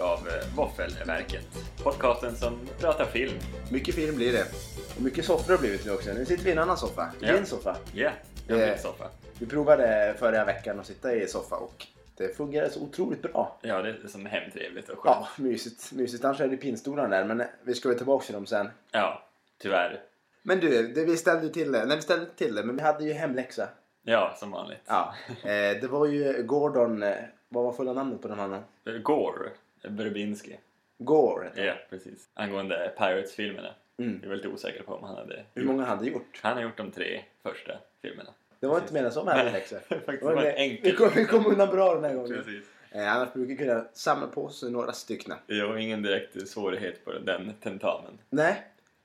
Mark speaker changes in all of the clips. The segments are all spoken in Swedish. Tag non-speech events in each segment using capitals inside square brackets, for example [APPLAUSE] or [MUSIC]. Speaker 1: eh, Våffelverket. Podcasten som pratar film.
Speaker 2: Mycket film blir det. Och mycket soffor har blivit nu också. Nu sitter vi i en annan soffa. I
Speaker 1: Ja.
Speaker 2: din soffa.
Speaker 1: Ja, jag
Speaker 2: Eh.
Speaker 1: har bytt soffa.
Speaker 2: Vi provade förra veckan att sitta i soffa och det fungerade så otroligt bra.
Speaker 1: Ja, det är som hemtrevligt och skönt.
Speaker 2: Ja, mysigt. Mysigt. Annars är det pinstolarna där, men vi ska väl tillbaka till dem sen.
Speaker 1: Ja, tyvärr.
Speaker 2: Men du, det vi ställde till det. Nej, vi ställde inte till det, men vi hade ju hemläxa.
Speaker 1: Ja, som vanligt.
Speaker 2: Ja. [LAUGHS] Eh, det var ju Gordon... eh, Vad var fulla namnet på den mannen?
Speaker 1: Eh, Gore Verbinski.
Speaker 2: Gore. hette han.
Speaker 1: Ja, precis. Angående Pirates-filmerna.
Speaker 2: Mm.
Speaker 1: Jag är väldigt osäker på om han hade...
Speaker 2: Hur många hade gjort?
Speaker 1: Han har gjort de tre första filmerna.
Speaker 2: Det var inte mer än så med hemläxa.
Speaker 1: Det har [LAUGHS] faktiskt
Speaker 2: Det var
Speaker 1: varit
Speaker 2: det. Vi
Speaker 1: enkelt.
Speaker 2: kom, vi kom undan bra den här gången.
Speaker 1: Precis.
Speaker 2: Eh, annars brukar vi kunna samla på oss några stycken.
Speaker 1: Jag har ingen direkt svårighet på den tentamen.
Speaker 2: Nej.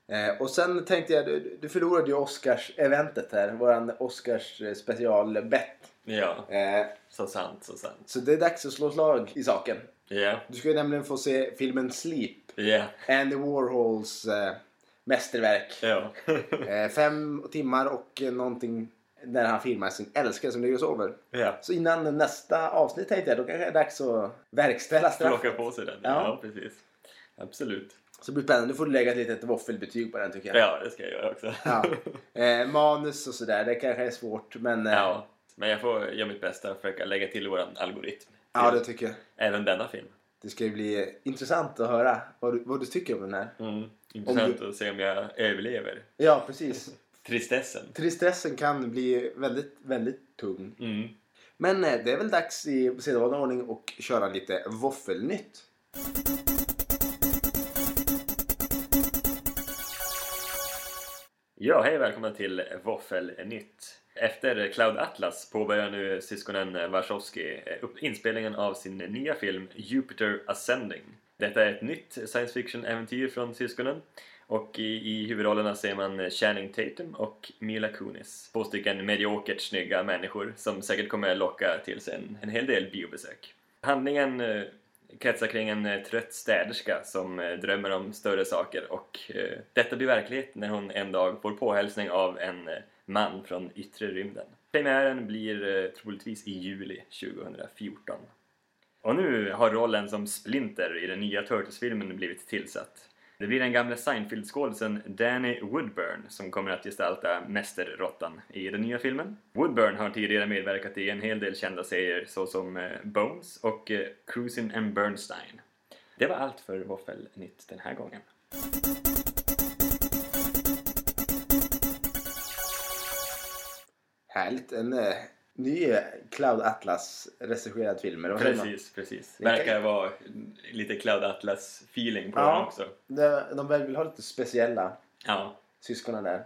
Speaker 2: Eh, och sen tänkte jag, du, du förlorade ju Oscars-eventet här. Våran Oscars eh, specialbett.
Speaker 1: Ja,
Speaker 2: Eh,
Speaker 1: så sant, så sant.
Speaker 2: så det är dags att slå slag i saken.
Speaker 1: Ja,
Speaker 2: Du ska ju nämligen få se filmen Sleep.
Speaker 1: ja,
Speaker 2: Andy Warhols eh, mästerverk. [LAUGHS]
Speaker 1: ja.
Speaker 2: Eh, fem timmar och eh, någonting när han filmar sin älskare som ligger och sover.
Speaker 1: ja.
Speaker 2: Så innan nästa avsnitt tänkte jag, då kanske det är dags att verkställa
Speaker 1: Plocka
Speaker 2: straffet.
Speaker 1: på sig den.
Speaker 2: Ja.
Speaker 1: Ja. precis. Absolut.
Speaker 2: Så det blir spännande. Du får lägga ett litet våffelbetyg på den tycker jag.
Speaker 1: Ja, det ska jag göra också.
Speaker 2: Ja. Eh, manus och sådär, det kanske är svårt men... Eh, ja.
Speaker 1: [LAUGHS] Ja, Men jag får göra mitt bästa och försöka lägga till våran algoritm.
Speaker 2: ja, det tycker jag.
Speaker 1: Även denna film.
Speaker 2: Det ska ju bli intressant att höra vad du, vad du tycker om den här.
Speaker 1: Intressant att se om jag överlever
Speaker 2: Ja, precis.
Speaker 1: tristessen.
Speaker 2: [LAUGHS] Tristessen kan bli väldigt, väldigt tung.
Speaker 1: Mm.
Speaker 2: Men eh, det är väl dags i sedvanlig ordning och köra lite våffelnytt.
Speaker 1: Ja, hej och välkomna till Våffelnytt. Efter Cloud Atlas påbörjar nu syskonen Wachowski eh, upp- inspelningen av sin nya film Jupiter Ascending. Detta är ett nytt science fiction-äventyr från syskonen och i, i huvudrollerna ser man Channing Tatum och Mila Kunis. Två stycken mediokert snygga människor som säkert kommer locka till sig en, en hel del biobesök. Handlingen eh, kretsar kring en eh, trött städerska som eh, drömmer om större saker och eh, detta blir verklighet när hon en dag får påhälsning av en eh, man från yttre rymden. Premiären blir eh, troligtvis i juli 2014. Och nu har rollen som Splinter i den nya Turtles-filmen blivit tillsatt. Det blir den gamla Seinfeld-skådisen Danny Woodburn som kommer att gestalta Mästerrottan i den nya filmen. Woodburn har tidigare medverkat i en hel del kända serier såsom eh, Bones och eh, Cruisin' and Bernstein. Det var allt för Våffelnytt den här gången.
Speaker 2: Härligt. En eh, ny eh, Cloud Atlas regisserad film. eller vad säger man?
Speaker 1: Precis, precis.
Speaker 2: Det kan-
Speaker 1: Verkar vara lite Cloud Atlas-feeling på
Speaker 2: Ja.
Speaker 1: den också.
Speaker 2: De, de väl vill ha lite speciella
Speaker 1: Ja,
Speaker 2: syskonen där.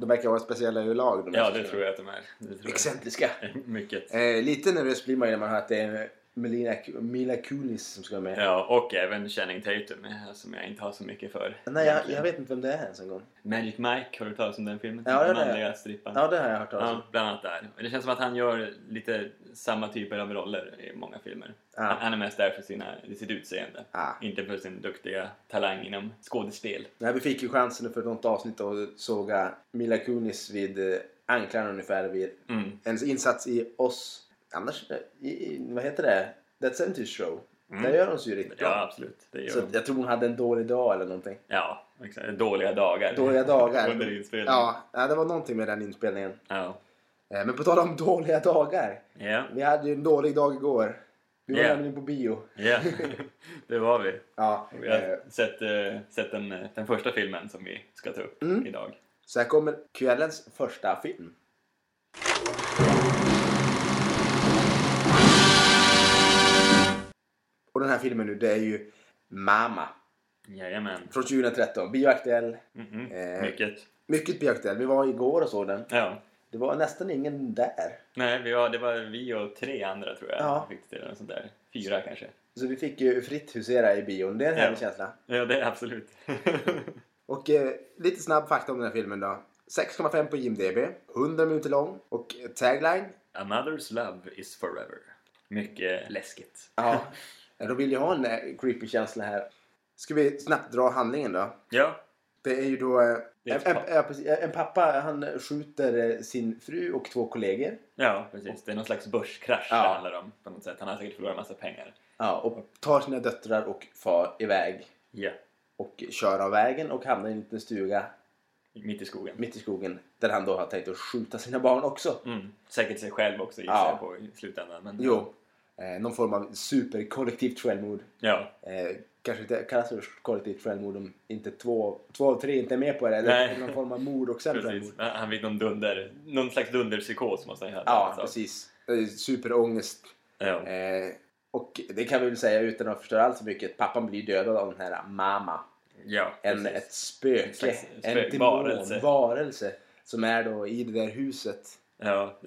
Speaker 2: De verkar vara speciella överlag. De
Speaker 1: ja det tror jag att de är. Det tror jag.
Speaker 2: Excentriska.
Speaker 1: [LAUGHS] Mycket.
Speaker 2: Eh, lite nervös blir man ju när man hör att det är Melina, Mila Kunis som ska vara med.
Speaker 1: Ja, och även Channing Tatum eh, som jag inte har så mycket för.
Speaker 2: Nej, jag, jag
Speaker 1: egentligen.
Speaker 2: vet inte vem det är ens en gång.
Speaker 1: Magic Mike, har du hört talas om den filmen?
Speaker 2: Ja, det
Speaker 1: den
Speaker 2: har jag.
Speaker 1: manliga strippan.
Speaker 2: Ja, det har jag hört talas om.
Speaker 1: Ja, bland annat där. Och Det känns som att han gör lite samma typer av roller i många filmer.
Speaker 2: Ja.
Speaker 1: Han, han är mest där för sina, sitt utseende.
Speaker 2: Ja.
Speaker 1: Inte för sin duktiga talang inom skådespel.
Speaker 2: Nej, vi fick ju chansen för något avsnitt att såga Mila Kunis vid eh, anklarna ungefär vid
Speaker 1: Mm.
Speaker 2: hennes insats i oss. Annars, eh, i, i, vad heter det? That 70's show. Där gör hon sig ju riktigt
Speaker 1: Mm. Ja,
Speaker 2: bra.
Speaker 1: absolut. Det gör
Speaker 2: Så
Speaker 1: han.
Speaker 2: jag tror hon hade en dålig dag
Speaker 1: [LAUGHS]
Speaker 2: eller någonting.
Speaker 1: Ja, exakt. Dåliga dagar.
Speaker 2: Dåliga
Speaker 1: [LAUGHS]
Speaker 2: dagar.
Speaker 1: Under inspelningen.
Speaker 2: Ja, ja, det var någonting med den inspelningen.
Speaker 1: Ja.
Speaker 2: Eh, Men på tal om dåliga dagar.
Speaker 1: Ja.
Speaker 2: Vi hade ju en dålig dag igår. Vi var
Speaker 1: Ja.
Speaker 2: nämligen på bio. [LAUGHS]
Speaker 1: ja. det var vi.
Speaker 2: Ja,
Speaker 1: Vi har
Speaker 2: eh,
Speaker 1: sett, eh, sett den, eh, den första filmen som vi ska ta upp
Speaker 2: Mm.
Speaker 1: idag.
Speaker 2: så här kommer kvällens första film. Och den här filmen nu, det är ju Mama.
Speaker 1: Jajamän.
Speaker 2: Från 2013. Bioaktuell.
Speaker 1: Mm-mm.
Speaker 2: Eh.
Speaker 1: Mycket.
Speaker 2: Mycket bioaktuell. Vi var igår och såg den.
Speaker 1: Ja.
Speaker 2: Det var nästan ingen där.
Speaker 1: Nej, vi var, det var vi och tre andra tror jag.
Speaker 2: Ja.
Speaker 1: Fick till eller sånt där. Fyra kanske.
Speaker 2: Så vi fick ju fritt husera i bion. Det är en härlig
Speaker 1: Ja.
Speaker 2: känsla.
Speaker 1: Ja, det är [LAUGHS] absolut.
Speaker 2: Och eh, lite snabb fakta om den här filmen då. 6,5 på IMDB, 100 minuter lång och tagline.
Speaker 1: A mother's love is forever. Mycket läskigt.
Speaker 2: [LAUGHS] Ja, de vill ju ha en eh, creepy känsla här. Ska vi snabbt dra handlingen då?
Speaker 1: Ja.
Speaker 2: Det är ju då... eh,
Speaker 1: Det är ett
Speaker 2: en,
Speaker 1: pa-
Speaker 2: ja, precis. en pappa, han skjuter eh, sin fru och två kollegor.
Speaker 1: Ja, precis. Det är någon slags börskrasch
Speaker 2: Ja.
Speaker 1: det handlar om på något sätt. Han har säkert förlorat massa pengar.
Speaker 2: Ja, och tar sina döttrar och far iväg.
Speaker 1: Ja,
Speaker 2: Och kör av vägen och hamnar i en liten stuga
Speaker 1: mitt i skogen.
Speaker 2: mitt i skogen. Där han då har tänkt att skjuta sina barn också.
Speaker 1: Mm. Säkert sig själv också gissar
Speaker 2: Ja.
Speaker 1: jag på i slutändan. Men,
Speaker 2: Jo. Eh, någon form av superkollektivt självmord.
Speaker 1: Ja.
Speaker 2: Eh, kanske inte kallas för kollektivt självmord om inte två, två av tre inte är med på det. Eller
Speaker 1: Nej.
Speaker 2: någon form av
Speaker 1: [LAUGHS]
Speaker 2: mord och sen självmord.
Speaker 1: Precis. Men Han fick någon dunder, någon slags dunderpsykos måste han ha
Speaker 2: Ja,
Speaker 1: drabbats av.
Speaker 2: precis. Eh, Superångest.
Speaker 1: Ja.
Speaker 2: Eh, och det kan vi väl säga utan att förstöra allt för mycket. Pappan blir dödad av den här Mama.
Speaker 1: ja
Speaker 2: En,
Speaker 1: precis.
Speaker 2: ett spöke.
Speaker 1: En slags
Speaker 2: en
Speaker 1: spö-
Speaker 2: demon. Varelse.
Speaker 1: varelse.
Speaker 2: Som är då i det där huset.
Speaker 1: Ja,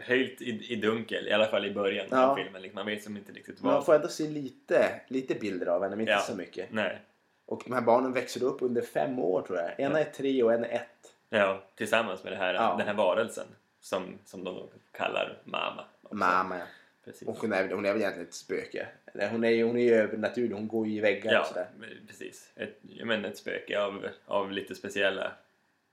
Speaker 1: höjt i, i dunkel, i alla fall i början
Speaker 2: Ja.
Speaker 1: av filmen. liksom. Man vet som inte riktigt
Speaker 2: Man
Speaker 1: vad...
Speaker 2: får ändå se lite, lite bilder av henne, men inte
Speaker 1: Ja.
Speaker 2: så mycket.
Speaker 1: Nej.
Speaker 2: Och de här barnen växer upp under fem år tror jag. Ena är tre och en är ett.
Speaker 1: Ja, tillsammans med det här,
Speaker 2: Ja.
Speaker 1: den här varelsen som, som de då kallar mamma. också.
Speaker 2: Mamma ja.
Speaker 1: Precis.
Speaker 2: Och hon är, hon är väl egentligen ett spöke. Eller Hon är ju hon är ju övernaturlig, hon går ju i väggar och
Speaker 1: ja,
Speaker 2: sådär.
Speaker 1: men precis. Ett, jag menar, ett spöke av, av lite speciella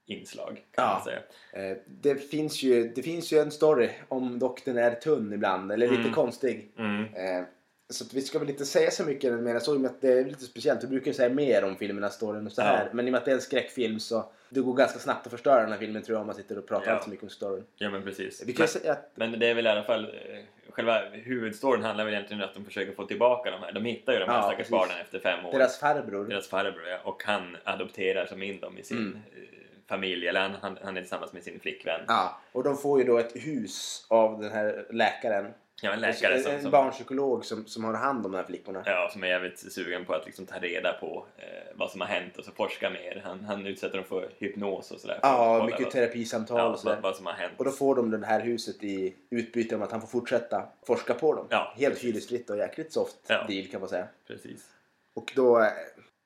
Speaker 1: inslag kan
Speaker 2: Ja.
Speaker 1: man säga.
Speaker 2: Eh, Det finns, ju, det finns ju en story om dock den är tunn ibland, eller lite
Speaker 1: Mm.
Speaker 2: konstig.
Speaker 1: Mm.
Speaker 2: Eh, Så att vi ska väl inte säga så mycket mer än så, i och med att det är lite speciellt. Vi brukar ju säga mer om filmerna, storyn och så
Speaker 1: Ja.
Speaker 2: här. Men i och med att det är en skräckfilm så det går ganska snabbt att förstöra den här filmen tror jag om man sitter och pratar
Speaker 1: Ja.
Speaker 2: allt så mycket om storyn.
Speaker 1: Ja, men precis.
Speaker 2: Vi kan
Speaker 1: Men-
Speaker 2: säga att...
Speaker 1: Men det är väl i alla fall eh, Själva huvudstoryn handlar väl egentligen om att de försöker få tillbaka de här. De hittar ju de här
Speaker 2: Ja,
Speaker 1: stackars
Speaker 2: precis.
Speaker 1: barnen efter fem år.
Speaker 2: Deras farbror.
Speaker 1: Deras farbror ja, och han adopterar som in dem i sin
Speaker 2: Mm.
Speaker 1: eh, familj. Eller han, han, han är tillsammans med sin flickvän.
Speaker 2: Ja, och de får ju då ett hus av den här läkaren.
Speaker 1: Ja, en läkare
Speaker 2: en
Speaker 1: som,
Speaker 2: en
Speaker 1: som,
Speaker 2: barnpsykolog som, som har hand om de här flickorna.
Speaker 1: ja, som är jävligt sugen på att liksom ta reda på eh, vad som har hänt och så forska mer. Han, han utsätter dem för hypnos och sådär. för att
Speaker 2: Ja,
Speaker 1: kolla
Speaker 2: mycket
Speaker 1: vad-
Speaker 2: terapisamtal
Speaker 1: ja,
Speaker 2: och sådär.
Speaker 1: vad, vad som har hänt.
Speaker 2: Och då får de det här huset i utbyte om att han får fortsätta forska på dem.
Speaker 1: Ja,
Speaker 2: Helt
Speaker 1: precis.
Speaker 2: hyresfritt och jäkligt soft
Speaker 1: Ja.
Speaker 2: deal kan man säga.
Speaker 1: Precis.
Speaker 2: Och då... eh,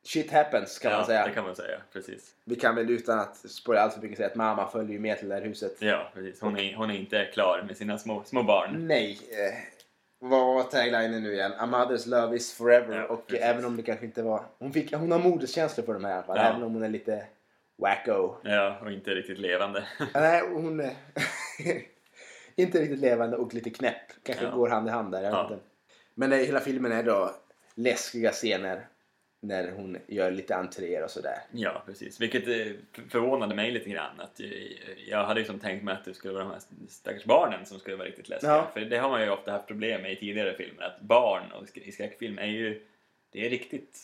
Speaker 2: Shit happens kan
Speaker 1: ja,
Speaker 2: man säga.
Speaker 1: det kan man säga. Precis.
Speaker 2: Vi kan väl utan att spoila allt för mycket säga att mamma följer ju med till det här huset.
Speaker 1: Ja, precis. Hon, är, hon är inte klar med sina små, små barn.
Speaker 2: Nej. Eh, vad var taglinen nu igen? A mother's love is forever.
Speaker 1: Ja,
Speaker 2: och
Speaker 1: precis.
Speaker 2: även om det kanske inte var... Hon, fick, hon har moderskänslor för de här i alla fall.
Speaker 1: Ja.
Speaker 2: Även om hon är lite wacko.
Speaker 1: Ja, och inte riktigt levande. [LAUGHS]
Speaker 2: Nej, hon är [LAUGHS] inte riktigt levande och lite knäpp. Kanske
Speaker 1: Ja.
Speaker 2: går hand i hand där. Jag vet
Speaker 1: Ja.
Speaker 2: inte. Men nej, hela filmen är då läskiga scener. När hon gör lite entréer och sådär.
Speaker 1: Ja, precis. Vilket eh, f- förvånade mig lite grann. Att eh, jag hade liksom tänkt mig att det skulle vara de här stackars barnen som skulle vara riktigt läskiga.
Speaker 2: Ja.
Speaker 1: För det har man ju ofta haft problem med i tidigare filmer. Att barn och sk- i skräckfilm är ju... Det är riktigt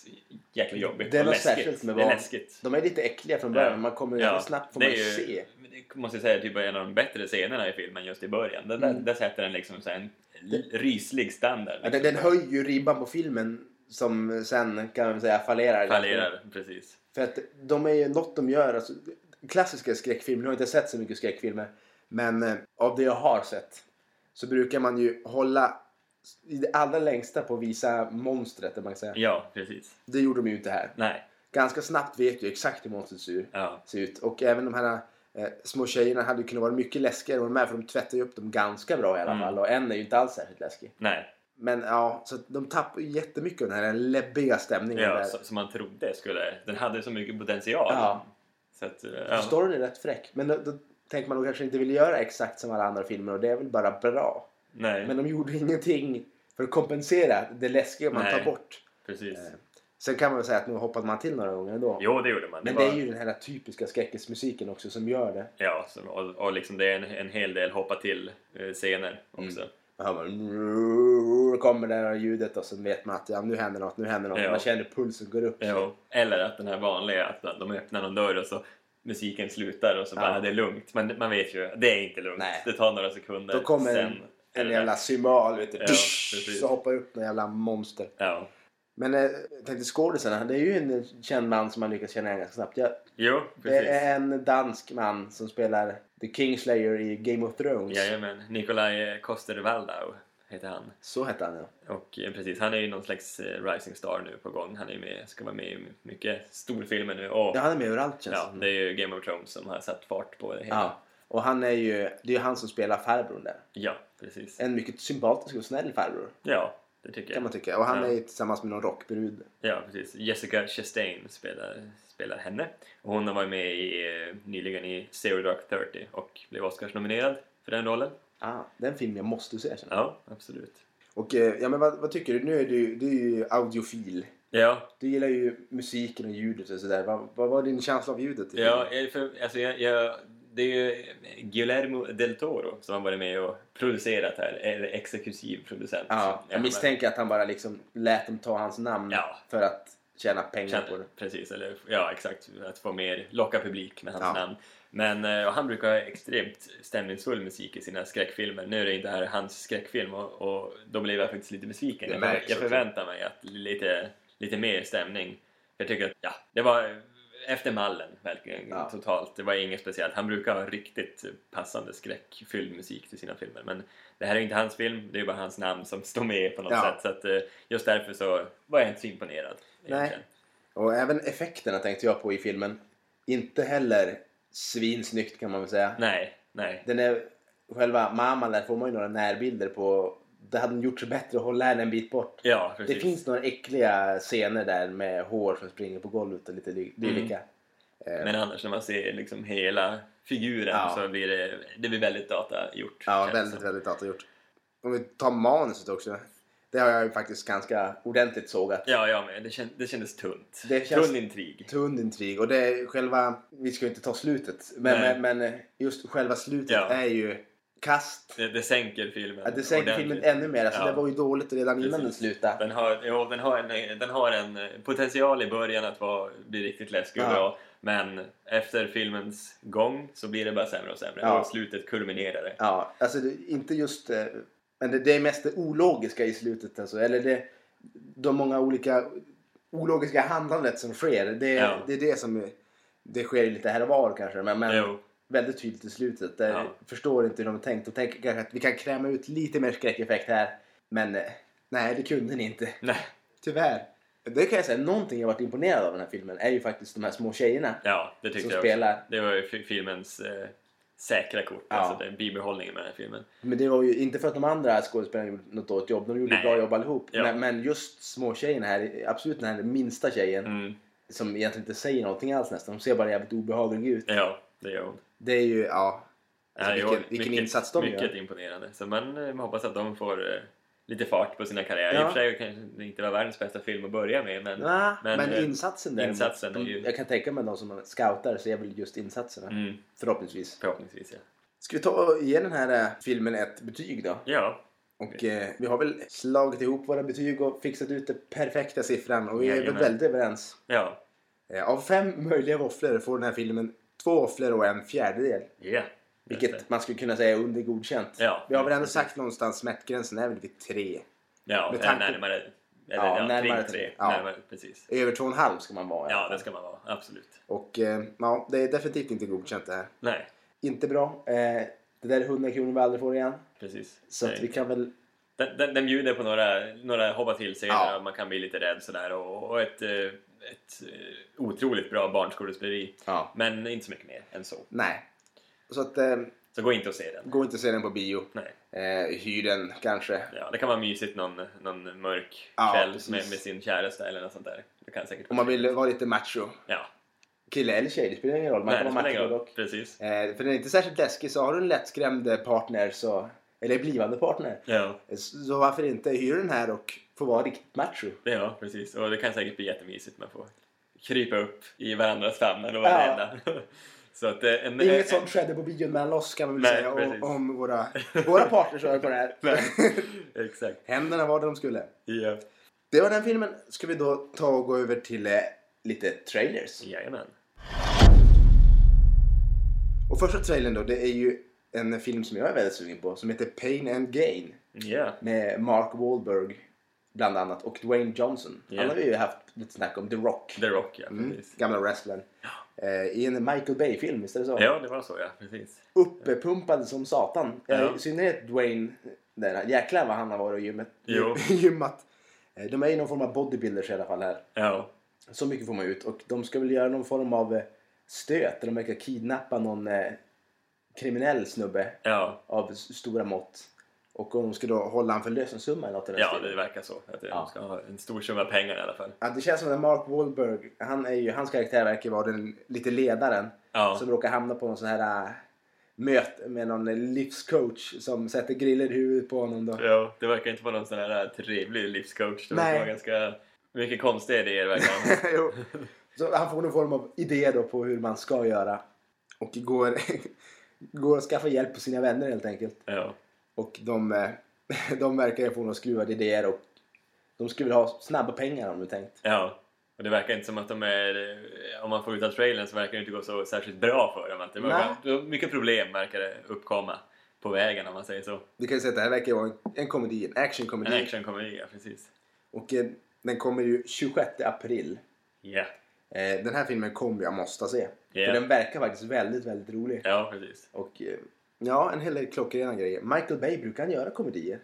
Speaker 1: jäkla jobbigt
Speaker 2: Det är
Speaker 1: och
Speaker 2: något
Speaker 1: läskigt.
Speaker 2: särskilt med
Speaker 1: Det
Speaker 2: barn.
Speaker 1: är läskigt.
Speaker 2: De är lite äckliga från början.
Speaker 1: Ja.
Speaker 2: Man kommer
Speaker 1: Ja,
Speaker 2: snabbt får
Speaker 1: det
Speaker 2: man
Speaker 1: är ju,
Speaker 2: se.
Speaker 1: Det måste jag säga typ en av de bättre scenerna i filmen just i början. Den, där-
Speaker 2: Mm.
Speaker 1: Där sätter den liksom så här en l- ryslig standard.
Speaker 2: Ja,
Speaker 1: Liksom.
Speaker 2: den, den höjer ju ribban på filmen. Som sen kan man säga fallerar. lite.
Speaker 1: Fallerar, precis.
Speaker 2: För att de är ju något de gör. Alltså, klassiska skräckfilmer, jag har inte sett så mycket skräckfilmer. Men eh, av det jag har sett så brukar man ju hålla i det allra längsta på att visa monstret. om Man kan säga.
Speaker 1: Ja, precis.
Speaker 2: Det gjorde de ju inte här.
Speaker 1: Nej.
Speaker 2: Ganska snabbt vet du exakt hur monstret ser-
Speaker 1: Ja.
Speaker 2: ser ut. Och även de här eh, små tjejerna hade ju kunnat vara mycket läskigare än de är för de tvättar ju upp dem ganska bra i alla
Speaker 1: Mm.
Speaker 2: fall. Och en är ju inte alls särskilt läskig.
Speaker 1: Nej.
Speaker 2: Men ja, så att de tappar ju jättemycket av den här läbbiga stämningen. där.
Speaker 1: Ja, så- som man trodde skulle... Den hade så mycket potential.
Speaker 2: Ja.
Speaker 1: Så att, eh,
Speaker 2: Ja.
Speaker 1: ja.
Speaker 2: Storyn är rätt fräck. Men då, då tänker man att de kanske inte vill göra exakt som alla andra filmer och det är väl bara bra.
Speaker 1: Nej,
Speaker 2: Men de gjorde ingenting för att kompensera det läskiga man
Speaker 1: Nej.
Speaker 2: tar bort.
Speaker 1: precis.
Speaker 2: Eh, Sen kan man väl säga att nu hoppade man till några gånger ändå.
Speaker 1: Jo, det gjorde man.
Speaker 2: Men
Speaker 1: det
Speaker 2: det
Speaker 1: var,
Speaker 2: är ju den här typiska skräckismusiken också som gör det.
Speaker 1: Ja, så, och, och liksom det är en, en hel del hoppa till eh, scener
Speaker 2: Mm.
Speaker 1: också.
Speaker 2: Man hör bara, kommer det här ljudet och så vet man att ja, nu händer något, nu händer något.
Speaker 1: Ja.
Speaker 2: Man känner pulsen går upp.
Speaker 1: Jo. Eller att den här vanliga, att de öppnar någon dörr och så musiken slutar och så bara
Speaker 2: Ja.
Speaker 1: det är lugnt. Men man vet ju, det är inte lugnt.
Speaker 2: Nej.
Speaker 1: Det tar några sekunder.
Speaker 2: Då kommer
Speaker 1: sen
Speaker 2: en,
Speaker 1: är
Speaker 2: en
Speaker 1: det
Speaker 2: jävla
Speaker 1: dags.
Speaker 2: cymbal vet du.
Speaker 1: Ja, precis.
Speaker 2: så hoppar upp en jävla monster.
Speaker 1: Ja.
Speaker 2: Men eh, jag tänkte skådisarna, det är ju en känd man som man lyckas känna igen ganska snabbt. Jag,
Speaker 1: Jo,
Speaker 2: det
Speaker 1: precis.
Speaker 2: är en dansk man som spelar The Kingslayer i Game of Thrones.
Speaker 1: Jajamän. Nikolaj Koster-Waldau heter han.
Speaker 2: Så hette han ja.
Speaker 1: Och eh, precis, han är ju någon slags eh, rising star nu på gång. Han är ju med, ska vara med i mycket storfilmer nu. Och,
Speaker 2: ja. Han är med överallt känns
Speaker 1: Ja,
Speaker 2: som.
Speaker 1: det är ju Game of Thrones som har satt fart på det hela.
Speaker 2: ja. Och han är ju, det är ju han som spelar farbrorn där.
Speaker 1: Ja, precis.
Speaker 2: En mycket sympatisk och snäll farbror.
Speaker 1: Ja, Det tycker
Speaker 2: kan
Speaker 1: jag.
Speaker 2: man tycka. Och han
Speaker 1: Ja.
Speaker 2: är ju tillsammans med någon rockbrud.
Speaker 1: Ja, precis. Jessica Chastain spelar, spelar henne. Och hon har varit med i, eh, nyligen i Zero Dark Thirty och blev Oscarsnominerad för den rollen.
Speaker 2: Ah, den film jag måste se känner jag.
Speaker 1: Ja, absolut.
Speaker 2: Och eh, ja, men vad, vad tycker du? Nu är du, du är ju audiofil.
Speaker 1: Ja,
Speaker 2: Du gillar ju musiken och ljudet och sådär. Vad, vad var din känsla av ljudet? i
Speaker 1: ja
Speaker 2: filmen?
Speaker 1: eh, för, alltså, jag, jag, det är ju eh, Guillermo del Toro som har varit med och producerat här, eller exekutiv producent.
Speaker 2: ja. Jag
Speaker 1: men-
Speaker 2: misstänker att han bara liksom lät dem ta hans namn
Speaker 1: Ja.
Speaker 2: för att tjäna pengar
Speaker 1: Känner-
Speaker 2: på det.
Speaker 1: Precis, eller ja exakt. Att få mer, locka publik med hans
Speaker 2: Ja.
Speaker 1: namn. Men eh, och han brukar ha extremt stämningsfull musik i sina skräckfilmer. Nu är det inte här hans skräckfilm och, och då blev jag faktiskt lite besviken.
Speaker 2: Det
Speaker 1: Jag,
Speaker 2: märks
Speaker 1: jag
Speaker 2: också.
Speaker 1: förväntar mig att lite, lite mer stämning. Jag tycker att, ja, det var efter mallen verkligen
Speaker 2: Ja.
Speaker 1: totalt. Det var inget speciellt. Han brukar ha riktigt passande skräckfylld musik till sina filmer. Men det här är inte hans film, det är bara hans namn som står med på något
Speaker 2: Ja.
Speaker 1: sätt. Så att, eh, just därför så var jag inte så imponerad.
Speaker 2: Nej.
Speaker 1: egentligen.
Speaker 2: Och även effekterna tänkte jag på i filmen. Inte heller svinsnyggt kan man väl säga.
Speaker 1: Nej, nej.
Speaker 2: Den är, själva mamman där får man ju några närbilder på. Det hade gjort sig bättre att hålla henne en bit bort.
Speaker 1: Ja, precis.
Speaker 2: Det finns några äckliga scener där med hår som springer på golvet och lite dy-
Speaker 1: Mm.
Speaker 2: dylika.
Speaker 1: Men annars när man ser liksom hela figuren
Speaker 2: Ja.
Speaker 1: så blir det, det blir väldigt datagjort.
Speaker 2: Ja,
Speaker 1: känns det
Speaker 2: väldigt,
Speaker 1: som.
Speaker 2: väldigt datagjort. Om vi tar manuset också. Det har jag ju faktiskt ganska ordentligt sågat.
Speaker 1: Ja, jag med. Det, känd, det kändes tunt.
Speaker 2: Det känns-
Speaker 1: Tunn intrig.
Speaker 2: Tunn intrig och det är själva, vi ska ju inte ta slutet,
Speaker 1: Nej.
Speaker 2: men, men, men just själva slutet
Speaker 1: Ja.
Speaker 2: är ju kast.
Speaker 1: Det, det sänker filmen.
Speaker 2: Ja, det sänker filmen
Speaker 1: ordentligt.
Speaker 2: ännu mer. Alltså,
Speaker 1: Ja.
Speaker 2: Det var ju dåligt redan innan den
Speaker 1: Precis.
Speaker 2: slutade.
Speaker 1: Den har, jo, den, har en, den har en eh, potential i början att vara, bli riktigt läskig och
Speaker 2: Ja.
Speaker 1: bra. Men efter filmens gång så blir det bara sämre och sämre.
Speaker 2: Ja.
Speaker 1: Och slutet kulminerar det.
Speaker 2: Ja, alltså det, inte just... eh, Men det, det är mest det ologiska i slutet. Alltså. Eller det, de många olika ologiska handlandet som sker. Det,
Speaker 1: Ja.
Speaker 2: det är det som... är- Det sker ju lite här och var kanske. Men, men
Speaker 1: Jo,
Speaker 2: väldigt tydligt i slutet. Där
Speaker 1: Ja.
Speaker 2: förstår inte hur de har tänkt. Och tänker kanske att vi kan kräma ut lite mer skräckeffekt här. Men eh, nej, det kunde ni inte.
Speaker 1: nej.
Speaker 2: Tyvärr. Det kan jag säga, någonting jag varit imponerad av i den här filmen är ju faktiskt de här små tjejerna.
Speaker 1: Ja, det tyckte
Speaker 2: Som
Speaker 1: jag
Speaker 2: spelar.
Speaker 1: också. Det var ju fi- filmens eh, säkra kort.
Speaker 2: Ja.
Speaker 1: Alltså den bibehållningen med den här filmen.
Speaker 2: Men det var ju inte för att de andra skådespelarna gjorde något dåligt jobb. De gjorde
Speaker 1: Nej.
Speaker 2: ett bra jobb allihop.
Speaker 1: Ja.
Speaker 2: Men, men just småtjejerna här, absolut den här minsta tjejen
Speaker 1: Mm.
Speaker 2: som egentligen inte säger någonting alls nästan. De ser bara jävligt obehaglig ut.
Speaker 1: Ja, det gör hon.
Speaker 2: Det är ju, ja. Alltså,
Speaker 1: Ja,
Speaker 2: vilken
Speaker 1: jo,
Speaker 2: vilken insats de
Speaker 1: Mycket
Speaker 2: gör.
Speaker 1: imponerande. Så man eh, hoppas att de får eh, lite fart på sina karriärer. I och
Speaker 2: Ja.
Speaker 1: för sig kanske det inte var världens bästa film att börja med, men...
Speaker 2: Nä,
Speaker 1: Men,
Speaker 2: men,
Speaker 1: eh,
Speaker 2: insatsen där.
Speaker 1: insatsen är
Speaker 2: de,
Speaker 1: ju-
Speaker 2: Jag kan tänka mig de som scoutar ser väl just insatserna.
Speaker 1: Mm,
Speaker 2: Förhoppningsvis.
Speaker 1: förhoppningsvis, ja.
Speaker 2: Ska vi ta och ge den här eh, filmen ett betyg då?
Speaker 1: Ja,
Speaker 2: Och eh, vi har väl slagit ihop våra betyg och fixat ut den perfekta siffran. Och vi är väl
Speaker 1: Jajamän.
Speaker 2: väldigt överens.
Speaker 1: ja,
Speaker 2: Eh, Av fem möjliga våfflor får den här filmen två våfflor och en fjärdedel.
Speaker 1: ja.
Speaker 2: Vilket man skulle kunna säga är under godkänt.
Speaker 1: Ja,
Speaker 2: Vi har väl ändå
Speaker 1: precis.
Speaker 2: sagt någonstans smärtgränsen är väl vid tre.
Speaker 1: Ja,
Speaker 2: med
Speaker 1: med
Speaker 2: tanke-
Speaker 1: närmare... Eller,
Speaker 2: Ja,
Speaker 1: ja, närmare
Speaker 2: närmare
Speaker 1: kring tre.
Speaker 2: tre. Ja.
Speaker 1: Närmare, precis.
Speaker 2: Över två och en halv ska man vara. i alla
Speaker 1: Ja,
Speaker 2: fall.
Speaker 1: det ska man vara. Absolut.
Speaker 2: Och eh, ja, det är definitivt inte godkänt det här.
Speaker 1: Nej,
Speaker 2: Inte bra. Eh, det där är 100 kronor vi aldrig får igen.
Speaker 1: precis.
Speaker 2: Så att
Speaker 1: Nej.
Speaker 2: vi kan väl...
Speaker 1: Den, den, den bjuder på några, några hoppa till scener
Speaker 2: Ja.
Speaker 1: och man kan bli lite rädd sådär och, och ett, eh, ett eh, otroligt bra barnskådespeleri.
Speaker 2: Ja.
Speaker 1: Men inte så mycket mer än så.
Speaker 2: Nej. Så att eh,
Speaker 1: Så gå inte och se den.
Speaker 2: gå inte och se den på bio.
Speaker 1: Nej.
Speaker 2: Eh, hyr den kanske.
Speaker 1: Ja, det kan vara mysigt någon, någon mörk
Speaker 2: Ja,
Speaker 1: kväll
Speaker 2: precis.
Speaker 1: med, med sin käresta eller något sånt där. Det kan säkert
Speaker 2: Om man vill vara lite macho.
Speaker 1: Ja,
Speaker 2: Kille eller tjej, det spelar ingen roll. Man
Speaker 1: Nej,
Speaker 2: kan
Speaker 1: det
Speaker 2: vara
Speaker 1: spelar ingen
Speaker 2: macho
Speaker 1: roll.
Speaker 2: dock.
Speaker 1: Precis.
Speaker 2: Eh, för den är inte särskilt läskig, så har du en lättskrämd eh, partner, så, eller blivande partner,
Speaker 1: Ja,
Speaker 2: så varför inte hyra den här och få vara riktigt macho?
Speaker 1: det- ja, precis. Och det kan säkert bli jättemysigt. Man får krypa upp i varandras famnar och vara
Speaker 2: Ja.
Speaker 1: rädda. [LAUGHS] Så att, eh, en,
Speaker 2: Inget
Speaker 1: en-
Speaker 2: sånt skedde på bion mellan oss kan man väl
Speaker 1: Nej,
Speaker 2: säga
Speaker 1: precis.
Speaker 2: om, om våra, våra partners hör på det här.
Speaker 1: [LAUGHS] Nej, exakt.
Speaker 2: [LAUGHS] Händerna var där de skulle.
Speaker 1: Ja.
Speaker 2: Det var den filmen. Ska vi då ta och gå över till eh, lite trailers.
Speaker 1: Jajamän.
Speaker 2: Och första trailern då, det är ju en film som jag är väldigt sugen på som heter Pain and Gain
Speaker 1: Ja,
Speaker 2: med Mark Wahlberg bland annat och Dwayne Johnson.
Speaker 1: Ja.
Speaker 2: Han har vi ju haft lite snack om, The Rock.
Speaker 1: The Rock, ja.
Speaker 2: Mm,
Speaker 1: Precis.
Speaker 2: gamla wrestlern. Eh, I en Michael Bay-film, visst är det så?
Speaker 1: Ja, det var så, ja. Precis.
Speaker 2: Uppepumpad som satan. Eh,
Speaker 1: Ja.
Speaker 2: I synnerhet Dwayne, där, jäklar vad han har varit och gymmet,
Speaker 1: Jo.
Speaker 2: [LAUGHS] gymmat. Eh, de är ju någon form av bodybuilders i alla fall här.
Speaker 1: Ja,
Speaker 2: Så mycket får man ut. Och de ska väl göra någon form av eh, stöt där de verkar kidnappa någon eh, kriminell snubbe
Speaker 1: ja.
Speaker 2: av s- stora mått. Och hon ska då hålla en förlösningssumma eller något i den
Speaker 1: Ja,
Speaker 2: stilen.
Speaker 1: det verkar så. Att eh, de
Speaker 2: Ja.
Speaker 1: ska ha en stor summa pengar i alla fall.
Speaker 2: Ja, det känns som att Mark Wahlberg, han är ju, hans karaktär verkar vara den lite ledaren
Speaker 1: Ja,
Speaker 2: som råkar hamna på någon sån här äh, möte med någon livscoach som sätter griller i huvudet på
Speaker 1: [LAUGHS]
Speaker 2: honom då.
Speaker 1: ja det verkar inte vara någon sån här äh, trevlig livscoach. Det
Speaker 2: Nej.
Speaker 1: verkar vara ganska mycket konstiga idéer verkar
Speaker 2: [LAUGHS]
Speaker 1: han.
Speaker 2: jo. Så han får någon form av idé då på hur man ska göra. Och går, [LAUGHS] går och skaffar hjälp på sina vänner helt enkelt.
Speaker 1: ja.
Speaker 2: Och de, [LAUGHS] eh, de verkar få några skruvade idéer och de skulle vilja ha snabba pengar om du tänkt.
Speaker 1: ja, och det verkar inte som att de är... eh, Om man får ut av trailern så verkar det inte gå så särskilt bra för dem. Att det verkar, mycket problem verkar det uppkomma på vägen om man säger så.
Speaker 2: Vi kan ju säga att det här verkar vara en, en komedi, en
Speaker 1: En
Speaker 2: actionkomedi.
Speaker 1: actionkomedi, ja precis.
Speaker 2: Och eh, den kommer ju 26 april.
Speaker 1: Ja,
Speaker 2: Eh, den här filmen kommer jag måste se.
Speaker 1: Ja.
Speaker 2: För den verkar faktiskt väldigt, väldigt rolig.
Speaker 1: ja precis.
Speaker 2: Och eh, ja, en hel del klockrena grejer. Michael Bay brukar han göra komedier.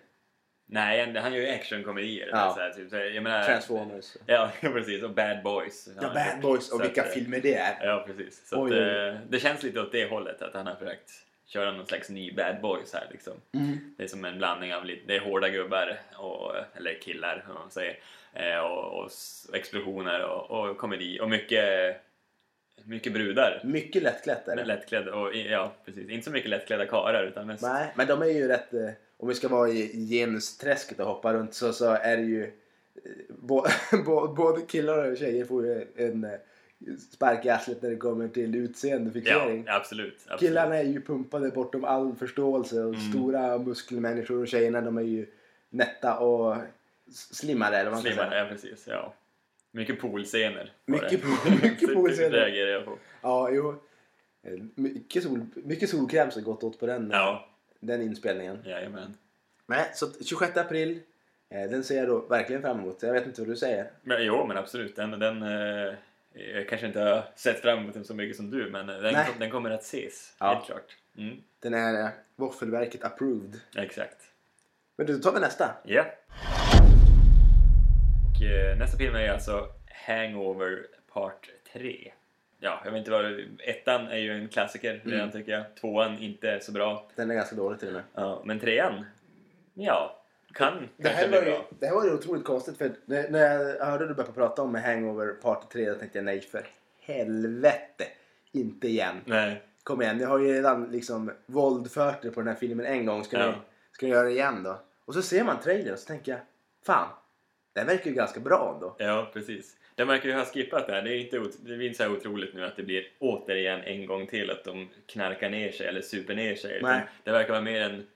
Speaker 1: Nej, han- han gör ju actionkomedier.
Speaker 2: Ja.
Speaker 1: Så här, typ. Så jag menar,
Speaker 2: Transformers.
Speaker 1: Ja, [LAUGHS] precis. Och Bad Boys.
Speaker 2: Ja, Bad Boys
Speaker 1: Så
Speaker 2: och vilka
Speaker 1: att, eh,
Speaker 2: filmer det är.
Speaker 1: Ja, precis. Så
Speaker 2: Oj,
Speaker 1: att,
Speaker 2: oj,
Speaker 1: eh, det känns lite åt det hållet att han har försökt köra någon slags ny bad boys här liksom.
Speaker 2: Mm.
Speaker 1: Det är som en blandning av lite, det är hårda gubbar, och, eller killar om man säger, eh, och, och s- explosioner och, och komedi och mycket, mycket brudar.
Speaker 2: Mycket lättklätt är
Speaker 1: Men
Speaker 2: det.
Speaker 1: Lättklädda, och, ja precis. Inte så mycket lättklädda karlar utan mest...
Speaker 2: Nej, men de är ju rätt... eh, Om vi ska vara i genusträsket och hoppa runt så, så är det ju... eh, [LAUGHS] Bo, bo, både killar och tjejer får ju en eh, spark i arslet när det kommer till
Speaker 1: Ja,
Speaker 2: utseendefixering.
Speaker 1: absolut. absolut. Mm.
Speaker 2: Killarna är ju pumpade bortom all förståelse och stora muskelmänniskor och tjejerna de är ju nätta och s- slimmade eller vad man ska
Speaker 1: Slimmar,
Speaker 2: säga.
Speaker 1: ja precis. Ja. Mycket poolscener. var det.
Speaker 2: Mycket pool- [LAUGHS] mycket
Speaker 1: Det
Speaker 2: poolscener.
Speaker 1: reagerar jag på.
Speaker 2: Ja, jo. Eh, Mycket, sol, mycket solkräm som gått åt på den,
Speaker 1: Ja,
Speaker 2: den inspelningen.
Speaker 1: jajamän.
Speaker 2: Nej, så att 26 april. eh, Den ser jag då verkligen fram emot. Jag vet inte vad du säger.
Speaker 1: Men, jo, men absolut. Den, den, eh, jag kanske inte har sett fram emot den så mycket som du, men eh, den,
Speaker 2: Nej.
Speaker 1: kom, den kommer att ses.
Speaker 2: Ja.
Speaker 1: Helt klart. Mm,
Speaker 2: Den är eh, Våffelverket approved.
Speaker 1: exakt.
Speaker 2: Men du, då tar vi nästa.
Speaker 1: Ja. Och, eh, nästa film är ju alltså Hangover Part 3. Ja, jag vet inte vad det, Ettan är ju en klassiker redan
Speaker 2: Mm.
Speaker 1: tycker jag. Tvåan inte så bra.
Speaker 2: Den är ganska dålig till och med.
Speaker 1: Ja, men trean, ja, kan
Speaker 2: Det
Speaker 1: kanske
Speaker 2: här,
Speaker 1: bli
Speaker 2: var ju,
Speaker 1: bra.
Speaker 2: det här var ju otroligt konstigt för när, när jag hörde du började prata om Hangover Part 3 då tänkte jag nej för helvete. Inte igen.
Speaker 1: Nej,
Speaker 2: Kom igen, ni har ju redan liksom våldfört er på den här filmen en gång. Ska,
Speaker 1: Ja.
Speaker 2: ni, ska ni göra det igen då? Och så ser man trailern och så tänker jag fan, den verkar ju ganska bra ändå.
Speaker 1: Ja, precis. De verkar ju ha skippat det här. Det är inte, ot- det är inte så här otroligt nu att det blir återigen en gång till att de knarkar ner sig eller super ner sig. Utan
Speaker 2: Nej.
Speaker 1: Det verkar vara mer en,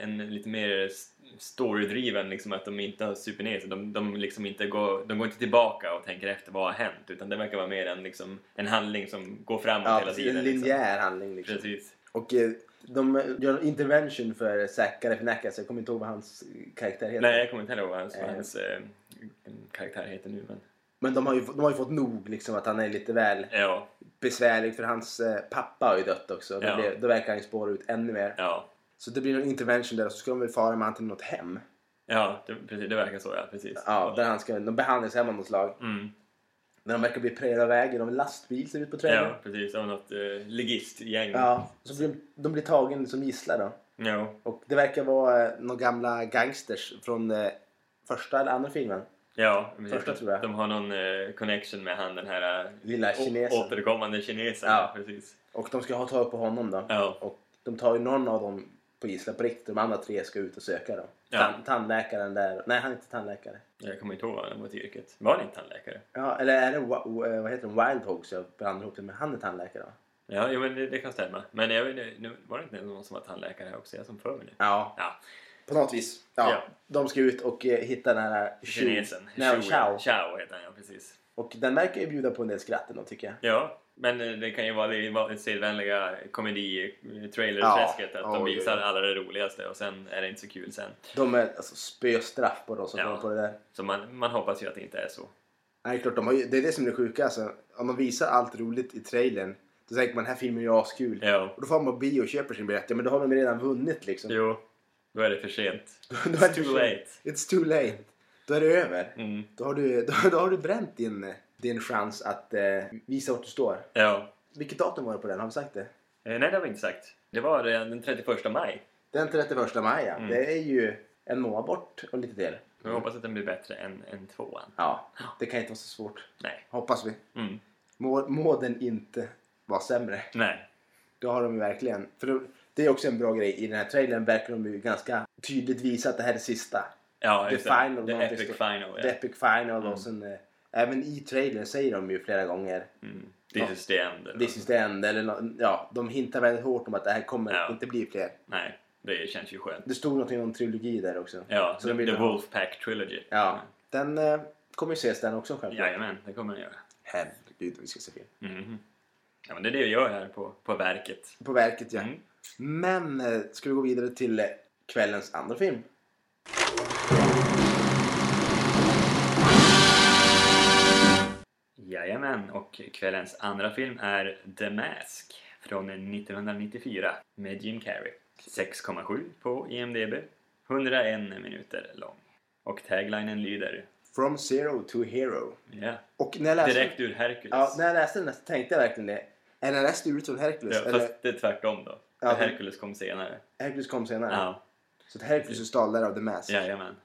Speaker 1: en lite mer s- storydriven, liksom att de inte har super ner sig. De, de, liksom inte går, de går inte tillbaka och tänker efter vad har hänt. Utan det verkar vara mer en, liksom, en handling som går framåt
Speaker 2: Ja,
Speaker 1: hela
Speaker 2: precis,
Speaker 1: tiden.
Speaker 2: en
Speaker 1: Liksom.
Speaker 2: linjär handling liksom.
Speaker 1: Precis.
Speaker 2: Och eh, de gör en intervention för Zack Galifianakis. Jag kommer inte ihåg vad hans eh, karaktär heter.
Speaker 1: Nej, jag kommer inte ihåg vad hans, vad
Speaker 2: Eh.
Speaker 1: hans eh, karaktär heter nu. Men,
Speaker 2: Men de har, ju, de har ju fått nog liksom att han är lite väl
Speaker 1: ja,
Speaker 2: besvärlig. För hans eh, pappa har ju dött också. Då,
Speaker 1: Ja.
Speaker 2: blir, då verkar han ju spåra ut ännu mer.
Speaker 1: ja.
Speaker 2: Så det blir en intervention där och så ska de väl fara med han till något hem.
Speaker 1: Ja, det, precis, det verkar så ja. Precis.
Speaker 2: Ja, där han ska, de behandlas hemma av något slag.
Speaker 1: Mm.
Speaker 2: När de verkar bli prejade av vägen av en lastbil ser det ut på trailern.
Speaker 1: Ja, precis. Av något eh, ligistgäng.
Speaker 2: Ja, så blir de, de blir tagen som gisslar då.
Speaker 1: Ja,
Speaker 2: Och det verkar vara eh, några gamla gangsters från eh, första eller andra filmen.
Speaker 1: ja precis.
Speaker 2: Första tror jag.
Speaker 1: De har någon eh, connection med han den här eh,
Speaker 2: Lilla
Speaker 1: å-
Speaker 2: kinesen.
Speaker 1: återkommande kinesen.
Speaker 2: Ja.
Speaker 1: precis.
Speaker 2: Och de ska ha tag på honom då.
Speaker 1: Ja.
Speaker 2: Och de tar ju någon av dem på gisslan på riktigt. De andra tre ska ut och söka dem.
Speaker 1: Ja.
Speaker 2: Tan- tandläkaren där. Nej, han är inte tandläkare.
Speaker 1: Jag kommer inte ihåg vad han var till yrket. Var han inte tandläkare?
Speaker 2: Ja, eller är det wa- o- eh, vad heter det? Wild Hogs? Jag blandar ihop det med han är tandläkare va?
Speaker 1: Ja, jo, men det, det kan stämma. Men jag, vet inte, nu, var det inte någon som var tandläkare här också? Jag som för mig det.
Speaker 2: Ja,
Speaker 1: Ja,
Speaker 2: på något vis. Ja.
Speaker 1: Ja.
Speaker 2: De ska ut och eh, hitta den här Chu.
Speaker 1: kinesen.
Speaker 2: Nej,
Speaker 1: Chu,
Speaker 2: Chow.
Speaker 1: ja. Chow heter han, ja precis.
Speaker 2: Och den verkar ju bjuda på en del skratt ändå tycker jag.
Speaker 1: Ja, men eh, det kan ju vara det var- det sedvänliga komedi-trailer-träsket.
Speaker 2: Ja.
Speaker 1: Att de
Speaker 2: Oj, oj,
Speaker 1: visar
Speaker 2: oj.
Speaker 1: alla det roligaste och sen är det inte så kul sen.
Speaker 2: De är alltså spöstraff på de som
Speaker 1: Ja.
Speaker 2: kommer på det där.
Speaker 1: Så man, man hoppas ju att det inte är så.
Speaker 2: Nej, klart, de har ju, det är det som är det sjuka alltså. Om de visar allt roligt i trailern. Då tänker man den här filmen är ju askul.
Speaker 1: Ja,
Speaker 2: Och då får man på bio och köper sin biljett. Ja, men då har de redan vunnit liksom.
Speaker 1: jo. Då är det för sent.
Speaker 2: [LAUGHS] Då är
Speaker 1: It's
Speaker 2: det
Speaker 1: too
Speaker 2: för
Speaker 1: late.
Speaker 2: It's too late. Då är det över.
Speaker 1: Mm.
Speaker 2: Då har du, [LAUGHS] då, då har du bränt din, din chans att eh, visa vart du står.
Speaker 1: Ja.
Speaker 2: Vilket datum var det på den? Har vi sagt det?
Speaker 1: Eh, nej, det har vi inte sagt. Det var eh, den 31 maj.
Speaker 2: Den 31 maj, ja.
Speaker 1: Mm.
Speaker 2: Det är ju en månad bort och lite till.
Speaker 1: Men jag hoppas att den blir bättre än, än tvåan.
Speaker 2: Ja, det kan inte vara så svårt.
Speaker 1: Nej.
Speaker 2: Hoppas vi.
Speaker 1: Mm.
Speaker 2: Må, må den inte vara sämre.
Speaker 1: Nej.
Speaker 2: Det har de ju verkligen. För det- det är också en bra grej. I den här trailern verkar de ju ganska tydligt visa att det här är sista.
Speaker 1: Ja,
Speaker 2: The
Speaker 1: just
Speaker 2: final,
Speaker 1: The
Speaker 2: någonting
Speaker 1: epic
Speaker 2: stort.
Speaker 1: final. Ja.
Speaker 2: The epic final och sen... eh, Även i trailern säger de ju flera gånger
Speaker 1: Mm. This is the end. eller
Speaker 2: This is the end eller nå- ja, de hintar väldigt hårt om att det här kommer
Speaker 1: Ja.
Speaker 2: inte bli fler.
Speaker 1: Nej, det känns ju skönt.
Speaker 2: Det stod någonting om trilogi där också.
Speaker 1: Ja,
Speaker 2: de
Speaker 1: The,
Speaker 2: vill
Speaker 1: the
Speaker 2: ha-
Speaker 1: Wolfpack Trilogy.
Speaker 2: Ja, den eh, kommer ju ses den också självklart.
Speaker 1: Jajamän, det kommer den göra.
Speaker 2: Herregud vi ska se film.
Speaker 1: Mhm. Ja, men det är det vi gör här på, på verket.
Speaker 2: På verket ja.
Speaker 1: Mm.
Speaker 2: Men eh, ska vi gå vidare till eh, kvällens andra film?
Speaker 1: Jajamän, och kvällens andra film är The Mask från 1994 med Jim Carrey. 6,7 på IMDB, 101 minuter lång. Och taglinen lyder
Speaker 2: From Zero to Hero.
Speaker 1: ja,
Speaker 2: Och när jag läste,
Speaker 1: direkt ur Hercules.
Speaker 2: ja, när jag läste den så tänkte jag verkligen det. Är den här stulit från Hercules?
Speaker 1: Ja,
Speaker 2: Eller
Speaker 1: fast det är tvärtom då.
Speaker 2: Ja, det-
Speaker 1: Hercules kom senare.
Speaker 2: Hercules kom senare?
Speaker 1: Ja,
Speaker 2: Så att Hercules är stal där av The Mask.
Speaker 1: jajamän.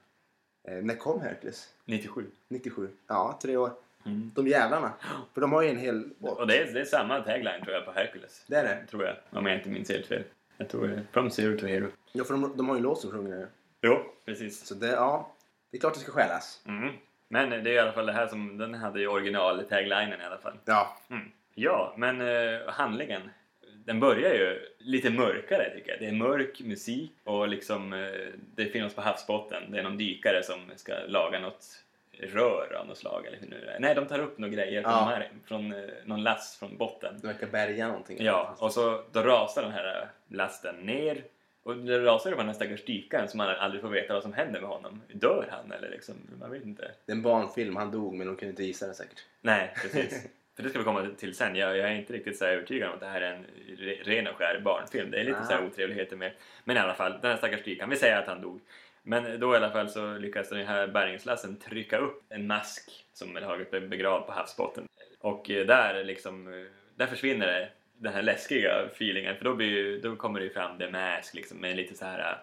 Speaker 2: Eh, när kom Hercules?
Speaker 1: 97.
Speaker 2: 97? Ja, tre år.
Speaker 1: Mm.
Speaker 2: De jävlarna. För de har ju en hel...
Speaker 1: Och det är, det är samma tagline tror jag på Hercules.
Speaker 2: Det är det.
Speaker 1: Tror jag, om jag inte minns helt fel. Jag tror det är From Zero to Hero.
Speaker 2: Ja, för de, de har ju en låt som sjunger nu.
Speaker 1: Jo, precis.
Speaker 2: Så det, ja. Det är klart det ska stjälas.
Speaker 1: Mm. Men det är i alla fall det här som den hade i original-taglinen i alla fall.
Speaker 2: Ja.
Speaker 1: Mm. Ja, men eh, handlingen. Den börjar ju lite mörkare tycker jag. Det är mörk musik och liksom eh, det finns på havsbotten. Det är någon dykare som ska laga något rör av något slag eller hur nu det är. Nej, de tar upp några grejer från,
Speaker 2: Ja.
Speaker 1: mar- från eh, någon last från botten.
Speaker 2: De verkar bärga någonting.
Speaker 1: Ja, och så då rasar den här eh, lasten ner. Och då rasar det bara den här stackars dykaren som man aldrig får veta vad som händer med honom. Dör han eller liksom? Man vet inte.
Speaker 2: Det är en barnfilm. Han dog, men de kunde inte gissa det säkert.
Speaker 1: Nej, precis. För det ska vi komma till sen. Jag, jag är inte riktigt så här övertygad om att det här är en re, ren och skär barnfilm. Det är lite
Speaker 2: Ah.
Speaker 1: så här otrevligheter med. Men i alla fall, den här stackars dykaren. Vi säger att han dog. Men då i alla fall så lyckas den här bärgningslassen trycka upp en mask som har blivit begravd på havsbotten. Och eh, där liksom, eh, där försvinner det, den här läskiga feelingen. För då, blir, ju- då kommer det ju fram The Mask liksom med lite så här eh,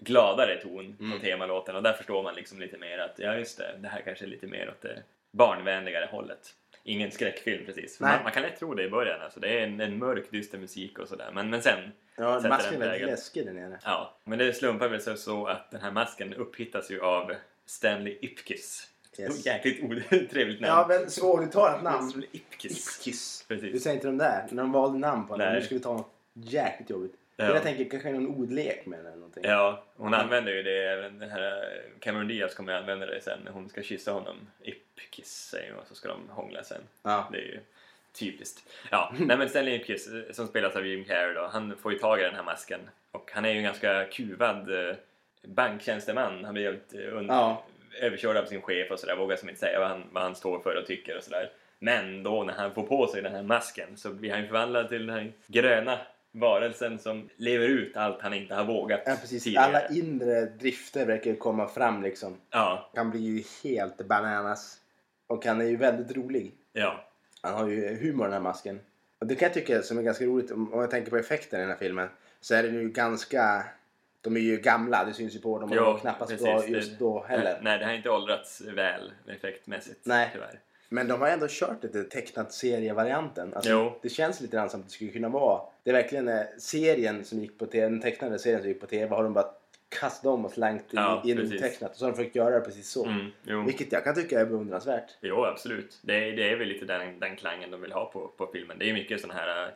Speaker 1: gladare ton på
Speaker 2: Mm.
Speaker 1: temalåten och där förstår man liksom lite mer att ja just det, det här kanske är lite mer åt det barnvänligare hållet. Ingen skräckfilm precis. För
Speaker 2: Nej.
Speaker 1: Man, man kan lätt tro det i början alltså. Det är en, en mörk, dyster musik och sådär. Men, men sen,
Speaker 2: Ja,
Speaker 1: Sätter
Speaker 2: masken är
Speaker 1: den
Speaker 2: väldigt
Speaker 1: prägel.
Speaker 2: läskig där nere.
Speaker 1: ja. Men det slumpar väl sig så att den här masken upphittas ju av Stanley Ipkiss.
Speaker 2: Yes.
Speaker 1: Jäkligt otrevligt namn.
Speaker 2: Ja, men svåruttalat namn.
Speaker 1: Stanley Ipkiss.
Speaker 2: Ipkiss.
Speaker 1: Precis.
Speaker 2: Du säger inte de där. När de valde namn på den.
Speaker 1: Nej.
Speaker 2: Nu ska vi ta något jäkligt jobbigt.
Speaker 1: Ja.
Speaker 2: Men jag tänker kanske någon ordlek med den eller någonting.
Speaker 1: Ja, hon använder ju det. även Den här Cameron Diaz kommer ju använda det sen när hon ska kyssa honom. Ipkiss säger hon och så ska de hångla sen.
Speaker 2: Ja.
Speaker 1: Det är ju typiskt. Ja, nej men Stanley Ipkiss eh, som spelas av Jim Carrey då, han får ju tag i den här masken. Och han är ju en ganska kuvad eh, banktjänsteman. Han blir jävligt eh, und-
Speaker 2: Ja.
Speaker 1: överkörd av sin chef och sådär. Vågar som inte säga vad han, vad han står för och tycker och sådär. Men då när han får på sig den här masken så blir han ju förvandlad till den här gröna varelsen som lever ut allt han inte har vågat
Speaker 2: Ja, precis.
Speaker 1: tidigare.
Speaker 2: Alla inre drifter verkar ju komma fram liksom.
Speaker 1: Ja,
Speaker 2: Han blir ju helt bananas. Och han är ju väldigt rolig.
Speaker 1: ja.
Speaker 2: Han har ju humor den här masken. Och det kan jag tycka som är ganska roligt om om jag tänker på effekten i den här filmen. Så är den ju ganska... De är ju gamla, det syns ju på dem. Och de
Speaker 1: Jo,
Speaker 2: var knappast bra
Speaker 1: det-
Speaker 2: just då heller.
Speaker 1: Nej, det har inte åldrats väl effektmässigt
Speaker 2: Nej.
Speaker 1: tyvärr.
Speaker 2: Men de har ändå kört lite tecknat serievarianten. Alltså,
Speaker 1: Jo.
Speaker 2: Det känns lite grann som att det skulle kunna vara. Det är verkligen eh, serien som gick på tv, den tecknade serien som gick på tv har de bara kastat om och slängt in,
Speaker 1: Ja,
Speaker 2: in
Speaker 1: precis.
Speaker 2: tecknat. Och så har de försökt göra det precis så.
Speaker 1: Mm, jo.
Speaker 2: Vilket jag kan tycka är beundransvärt.
Speaker 1: jo, absolut. Det är, det är väl lite den, den klangen de vill ha på, på filmen. Det är ju mycket sådana här eh,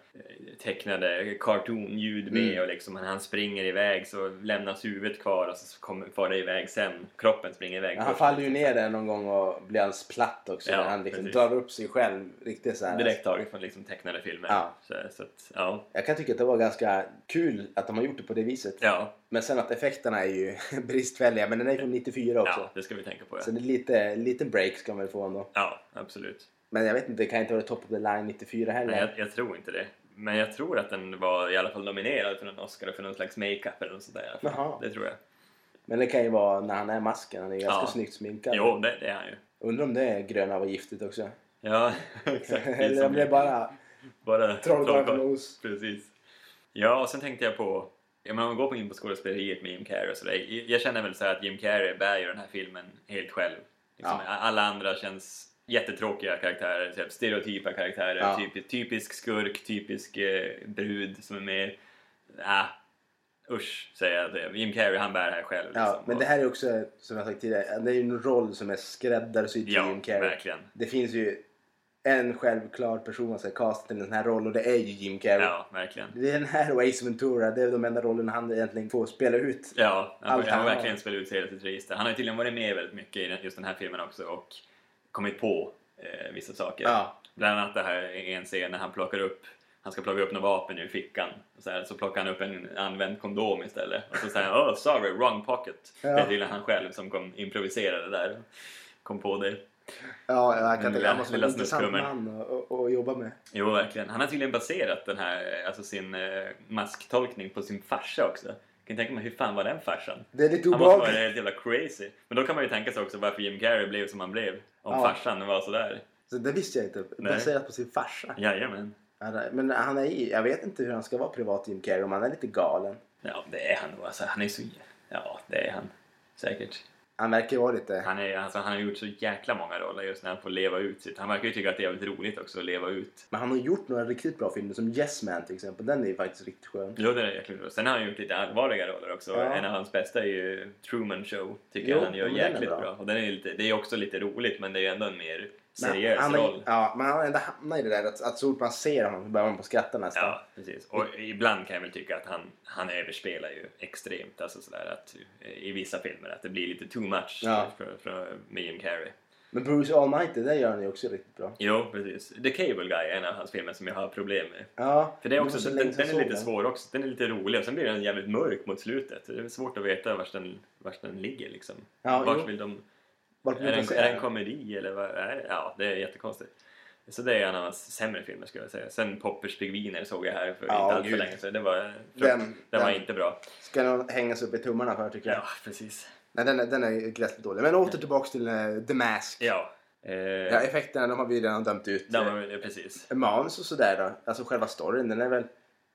Speaker 1: tecknade cartoon-ljud med
Speaker 2: Mm.
Speaker 1: och liksom när han springer iväg så lämnas huvudet kvar och så kommer, far det iväg sen. Kroppen springer iväg
Speaker 2: Han
Speaker 1: först.
Speaker 2: faller ju ner där någon gång och blir alldeles platt också.
Speaker 1: Ja,
Speaker 2: när han liksom
Speaker 1: precis.
Speaker 2: drar upp sig själv riktigt så här.
Speaker 1: Direkt taget från liksom tecknade filmer.
Speaker 2: Ja.
Speaker 1: Så, så att, ja.
Speaker 2: Jag kan tycka att det var ganska kul att de har gjort det på det viset.
Speaker 1: Ja,
Speaker 2: Men sen att effekterna är ju [LAUGHS] bristfälliga. Men den är ju från 94 också.
Speaker 1: ja, det ska vi tänka på. Ja,
Speaker 2: Så det är lite, lite break ska man väl få ändå.
Speaker 1: ja absolut.
Speaker 2: Men jag vet inte, det kan inte vara top of the line 94 heller.
Speaker 1: Nej, jag, jag tror inte det. Men jag tror att den var i alla fall nominerad för en Oscar för någon slags makeup eller något sånt där. i alla fall.
Speaker 2: Jaha.
Speaker 1: Det tror jag.
Speaker 2: Men det kan ju vara när han är masken, han är ganska
Speaker 1: Ja.
Speaker 2: snyggt sminkad.
Speaker 1: Jo, det, det är han ju.
Speaker 2: Undrar om det är gröna var giftigt också.
Speaker 1: Ja, [LAUGHS]
Speaker 2: [LAUGHS]
Speaker 1: exakt. Det är
Speaker 2: Eller om
Speaker 1: som-
Speaker 2: det är bara
Speaker 1: bara
Speaker 2: trollkarl
Speaker 1: trollkarl.
Speaker 2: från Oz.
Speaker 1: Precis. Ja, och sen tänkte jag på Ja, men om vi går på in på skådespeleriet med Jim Carrey och sådär. Jag känner väl så här att Jim Carrey bär ju den här filmen helt själv. Liksom,
Speaker 2: Ja.
Speaker 1: Alla andra känns jättetråkiga karaktärer, typ stereotypa karaktärer.
Speaker 2: Ja.
Speaker 1: Typ, typisk skurk, typisk eh, brud som är med. Ah, usch, säger jag. typ. Jim Carrey, han bär det här själv.
Speaker 2: Ja,
Speaker 1: liksom.
Speaker 2: men det
Speaker 1: Och-
Speaker 2: här är också, som jag sagt tidigare, det är ju en roll som är skräddarsydd till
Speaker 1: ja,
Speaker 2: Jim Carrey.
Speaker 1: verkligen.
Speaker 2: Det finns ju en självklar person som är castad till den här rollen och det är ju Jim Carrey.
Speaker 1: Ja, verkligen.
Speaker 2: Det är den här och Ace Ventura, det är de enda rollerna han egentligen får spela ut.
Speaker 1: Ja, han,
Speaker 2: Allt
Speaker 1: han har
Speaker 2: annat.
Speaker 1: verkligen spelat ut hela sitt register. Han har ju tydligen varit med väldigt mycket i den- just den här filmen också och kommit på eh, vissa saker.
Speaker 2: Ja.
Speaker 1: Bland annat det här är en scen när han plockar upp han ska plocka upp något vapen ur fickan. Och så, här, så plockar han upp en använd kondom istället. Och så säger han oh sorry, wrong pocket.
Speaker 2: Ja.
Speaker 1: Det är tydligen han själv som kom, improviserade där. och Kom på det.
Speaker 2: Ja, jag
Speaker 1: Den
Speaker 2: kan inte,
Speaker 1: lilla-
Speaker 2: han måste vara
Speaker 1: Mm, lilla
Speaker 2: en intressant
Speaker 1: snuskummen.
Speaker 2: man att- att att jobba med.
Speaker 1: Jo, verkligen. Han har tydligen baserat den här, eh, alltså sin eh, masktolkning på sin farsa också. Kan ni tänka mig, hur fan var den farsan?
Speaker 2: Det är lite
Speaker 1: Han måste vara
Speaker 2: obehagligt.
Speaker 1: helt jävla crazy. Men då kan man ju tänka sig också varför Jim Carrey blev som han blev. Om
Speaker 2: Ja.
Speaker 1: farsan var sådär.
Speaker 2: Så det visste jag inte.
Speaker 1: Nej.
Speaker 2: Baserat på sin farsa.
Speaker 1: Jajamän.
Speaker 2: Han- Men han är, i- jag vet inte hur han ska vara privat Jim Carrey om han är lite galen.
Speaker 1: Ja, det är han nog. Alltså, han är så... Ja, det är han. Säkert.
Speaker 2: Han verkar ju vara lite...
Speaker 1: Han, är, alltså, han har gjort så jäkla många roller just när han får leva ut sitt. Han verkar ju tycka att det är jävligt roligt också att leva ut.
Speaker 2: Men han har gjort några riktigt bra filmer som Yes Man till exempel. Den är ju faktiskt riktigt skön.
Speaker 1: Jo, det är jäkligt roligt. Sen har han gjort lite allvarliga roller också.
Speaker 2: Ja.
Speaker 1: En av hans bästa är ju Truman Show. Tycker
Speaker 2: Jo,
Speaker 1: jag han gör
Speaker 2: men den är
Speaker 1: jäkligt bra.
Speaker 2: bra.
Speaker 1: Och den är lite, det är också lite roligt, men det är ju ändå en mer
Speaker 2: Men
Speaker 1: seriös
Speaker 2: han,
Speaker 1: roll.
Speaker 2: Ja, men han har ändå hamnat i det där att, att så fort man ser honom så börjar man på skratta nästan.
Speaker 1: Ja, precis. Och
Speaker 2: Mm.
Speaker 1: ibland kan jag väl tycka att han, han överspelar ju extremt. Alltså sådär att, I vissa filmer att det blir lite too much
Speaker 2: Ja.
Speaker 1: för, för, med Jim Carrey.
Speaker 2: Men Bruce Almighty, det gör han ju också riktigt bra.
Speaker 1: Jo, precis. The Cable Guy är en av hans filmer som jag har problem med.
Speaker 2: Ja,
Speaker 1: För det är
Speaker 2: var
Speaker 1: också,
Speaker 2: Mm, så
Speaker 1: den,
Speaker 2: länge
Speaker 1: den
Speaker 2: sedan
Speaker 1: är
Speaker 2: jag
Speaker 1: lite
Speaker 2: såg
Speaker 1: svår också. Den är lite rolig och sen blir den jävligt mörk mot slutet. Det är svårt att veta vart den, vart den ligger liksom.
Speaker 2: Ja,
Speaker 1: vart
Speaker 2: jo.
Speaker 1: vill de...
Speaker 2: Vart
Speaker 1: Är
Speaker 2: brukar
Speaker 1: det,
Speaker 2: se
Speaker 1: är det
Speaker 2: den?
Speaker 1: en komedi eller vad är det? Ja, det är jättekonstigt. Så det är en av hans sämre filmer skulle jag säga. Sen Poppers Pingviner såg jag här för
Speaker 2: Ja,
Speaker 1: inte allt för
Speaker 2: gud.
Speaker 1: länge sedan. Det var,
Speaker 2: Den-
Speaker 1: den, var
Speaker 2: den-
Speaker 1: inte bra.
Speaker 2: Ska nog hängas upp i tummarna för tycker jag.
Speaker 1: Ja, precis.
Speaker 2: Nej, den, är- den är ju rätt dålig. Men åter tillbaks till eh, The Mask.
Speaker 1: Ja. Eh,
Speaker 2: Ja, effekterna de har vi redan dömt ut.
Speaker 1: där var, eh, precis.
Speaker 2: Manus och sådär då. Alltså själva storyn, den är väl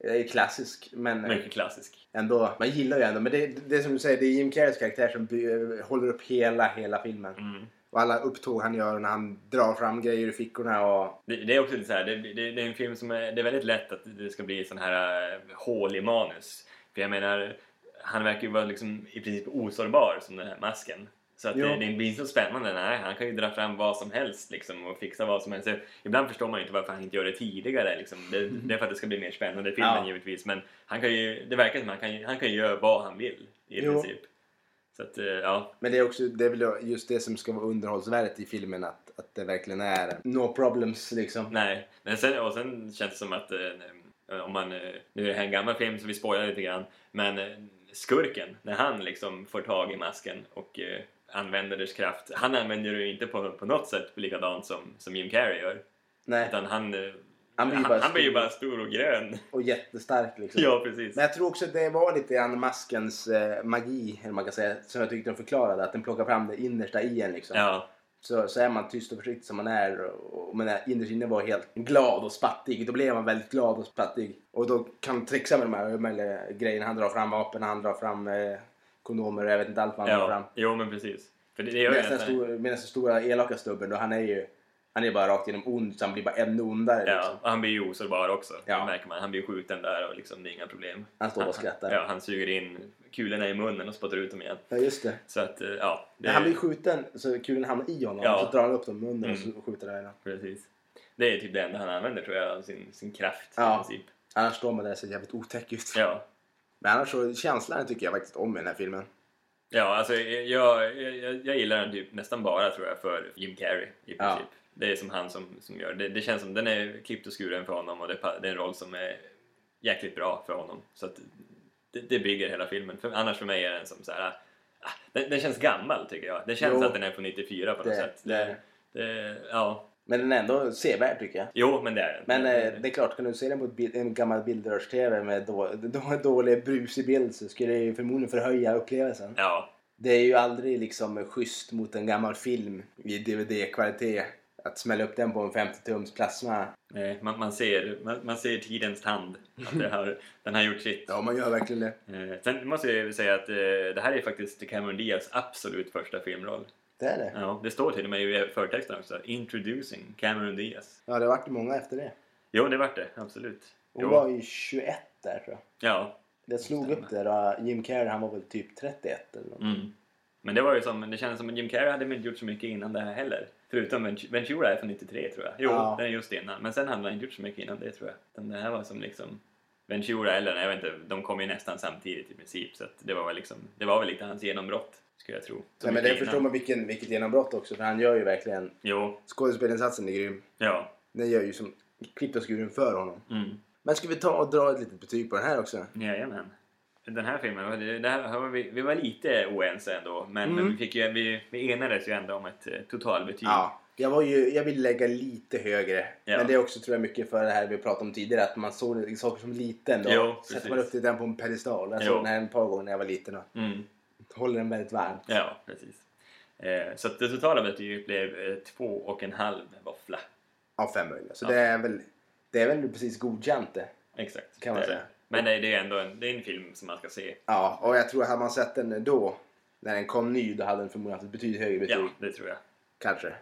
Speaker 2: eh, klassisk. Men eh,
Speaker 1: Mycket klassisk.
Speaker 2: ändå, man gillar ju ändå. Men det, det är som du säger, det är Jim Carreys karaktär som by- håller upp hela, hela filmen.
Speaker 1: Mm.
Speaker 2: Och alla upptåg han gör när han drar fram grejer ur fickorna och...
Speaker 1: Det, det är också lite så här, det, det, det är en film som är, det är väldigt lätt att det ska bli sån här eh, hål i manus. För jag menar, han verkar ju vara liksom i princip osårbar som den här masken. Så att det,
Speaker 2: Jo.
Speaker 1: det blir så spännande. Nej, han kan ju dra fram vad som helst liksom, och fixa vad som helst. Ibland förstår man ju inte varför han inte gör det tidigare. Liksom. Det, det är för att det ska bli mer spännande i filmen
Speaker 2: Mhm. Ja.
Speaker 1: givetvis. Men han kan ju, det verkar som att han kan, ju- han kan ju göra vad han vill i
Speaker 2: Jo.
Speaker 1: princip. Så att, eh, ja.
Speaker 2: Men det är också det är väl just det som ska vara underhållsvärdet i filmen. Att, att det verkligen är no problems liksom.
Speaker 1: Nej, men sen, och sen känns det som att eh, om man, eh, nu är det här en gammal film så vi spoilar lite grann, men eh, skurken, när han liksom får tag i masken och eh, använder dess kraft, han använder det ju inte på, på något sätt likadant som, som Jim Carrey gör,
Speaker 2: Nej.
Speaker 1: utan han, eh,
Speaker 2: Han blir
Speaker 1: han,
Speaker 2: ju bara
Speaker 1: han blir ju
Speaker 2: stor.
Speaker 1: bara stor och grön.
Speaker 2: Och jättestark liksom.
Speaker 1: ja, precis.
Speaker 2: Men jag tror också att det var lite grann maskens eh, magi, eller man kan säga, som jag tyckte de förklarade. Att den plockar fram det innersta i en liksom.
Speaker 1: Ja,
Speaker 2: Så, så är man tyst och försiktig som man är, och, och, men innerst inne var helt glad och spattig, då blir man väldigt glad och spattig. Och då kan man trixa med de här ömärliga grejerna. Han drar fram vapen, han drar fram eh, kondomer, jag vet inte allt vad han drar fram.
Speaker 1: ja. Jo, men precis. För det, det gör ju
Speaker 2: Medan den,
Speaker 1: nästan...
Speaker 2: stor, medan den stora elaka snubben då, han är ju han är bara rakt igenom ond så han blir bara ännu ondare.
Speaker 1: Ja,
Speaker 2: Liksom.
Speaker 1: och han blir ju osårbar också, det
Speaker 2: Ja.
Speaker 1: märker man. Han blir skjuten där och liksom, det är inga problem.
Speaker 2: Han står bara och skrattar.
Speaker 1: Ja, han suger in kulorna i munnen och spottar ut dem igen.
Speaker 2: Ja, just det.
Speaker 1: Så att, eh, ja. Det,
Speaker 2: När han blir skjuten så kulan hamnar i honom
Speaker 1: Ja.
Speaker 2: och så drar han upp dem i munnen
Speaker 1: Mm.
Speaker 2: och så skjuter han i den.
Speaker 1: precis. Det är typ det enda han använder tror jag, av sin, sin kraft
Speaker 2: Ja.
Speaker 1: i princip.
Speaker 2: Annars står man där och ser jävligt otäck ut.
Speaker 1: Ja.
Speaker 2: Men annars så, känslan tycker jag faktiskt om i den här filmen.
Speaker 1: Ja, alltså jag, jag, jag, jag gillar den typ nästan bara tror jag för Jim Carrey i princip.
Speaker 2: Ja.
Speaker 1: Det är som han som, som gör det. Det känns som den är klippt och skuren för honom och det, pa- det är en roll som är jäkligt bra för honom. Så att det, det bygger hela filmen. För, annars för mig är den som så här. ah, Den, den känns gammal tycker jag. Det känns
Speaker 2: Jo.
Speaker 1: att den är på 94 på något
Speaker 2: Det-
Speaker 1: sätt.
Speaker 2: det-
Speaker 1: det, ja.
Speaker 2: Men den är ändå sevärd tycker jag.
Speaker 1: Jo, men det är den.
Speaker 2: Men
Speaker 1: Den-
Speaker 2: eh, det är klart, kan du se den på ett bild, en gammal bildrörs-tv med då, [LAUGHS] då, dålig brusig bild så skulle det ju förmodligen förhöja upplevelsen.
Speaker 1: Ja,
Speaker 2: Det är ju aldrig liksom schysst mot en gammal film i DVD-kvalitet. Att smälla upp den på en 50-tums plasma.
Speaker 1: Nej, Eh, man, man, ser, man, man ser tidens tand. Att det har, den har gjort sitt.
Speaker 2: Ja, man gör verkligen det.
Speaker 1: Eh, sen måste jag ju säga att eh, det här är faktiskt Cameron Diaz absolut första filmroll.
Speaker 2: Det är det.
Speaker 1: Ja, det står till och med i förtexten också. Introducing Cameron Diaz.
Speaker 2: Ja, det vart många efter det.
Speaker 1: Jo, det vart det. Absolut.
Speaker 2: Hon
Speaker 1: Jo.
Speaker 2: var ju 21 där tror jag.
Speaker 1: Ja.
Speaker 2: Det slog upp där och Jim Carrey han var väl typ 31 eller något.
Speaker 1: Mm. Men det var ju som, det kändes som att Jim Carrey hade väl inte gjort så mycket innan det här heller. Förutom Vent- Ventura är från 93 tror jag. Jo,
Speaker 2: Ja.
Speaker 1: den är just innan. Men sen hade han inte gjort så mycket innan det tror jag. Utan det här var som liksom Ventura eller, nej, jag vet inte, de kom ju nästan samtidigt i princip. Så att det var väl liksom, det var väl lite hans genombrott, skulle jag tro. Så
Speaker 2: Nej, men
Speaker 1: mycket
Speaker 2: det förstår
Speaker 1: innan.
Speaker 2: man vilken, vilket genombrott också för han gör ju verkligen...
Speaker 1: Jo,
Speaker 2: Skådespelinsatsen är grym.
Speaker 1: ja.
Speaker 2: Den gör ju som klippt och skuren för honom.
Speaker 1: Mm.
Speaker 2: Men ska vi ta och dra ett litet betyg på den här också?
Speaker 1: Jajamän. Den här filmen, det- det här var vi, vi var lite oense ändå. Men,
Speaker 2: Mm.
Speaker 1: men vi, fick ju, vi, vi enades ju ändå om ett eh, totalbetyg.
Speaker 2: Ja. Jag, var ju, jag vill lägga lite högre.
Speaker 1: Ja.
Speaker 2: Men det är också tror jag mycket för det här vi pratade om tidigare. Att man såg det- saker som liten. Då.
Speaker 1: Jo,
Speaker 2: Sätter
Speaker 1: precis.
Speaker 2: man upp det den på en pedestal. Jag
Speaker 1: Jo.
Speaker 2: såg den här ett par gånger när jag var liten. Och
Speaker 1: Mm.
Speaker 2: håller den väldigt varm.
Speaker 1: Ja, precis. Eh, så att det totala betyget blev eh, två och en halv våffla.
Speaker 2: Av fem möjliga. Så
Speaker 1: Ja.
Speaker 2: det, är väl, det är väl precis godkänt det.
Speaker 1: Exakt.
Speaker 2: Kan man
Speaker 1: det är
Speaker 2: säga.
Speaker 1: det. Men det, det är ändå en, det är en film som man ska se.
Speaker 2: Ja, och jag tror hade man sett den då. När den kom ny då hade den förmodligen haft ett betydligt högre betyg.
Speaker 1: Ja, det tror jag.
Speaker 2: [LAUGHS] Kanske.
Speaker 1: [LAUGHS]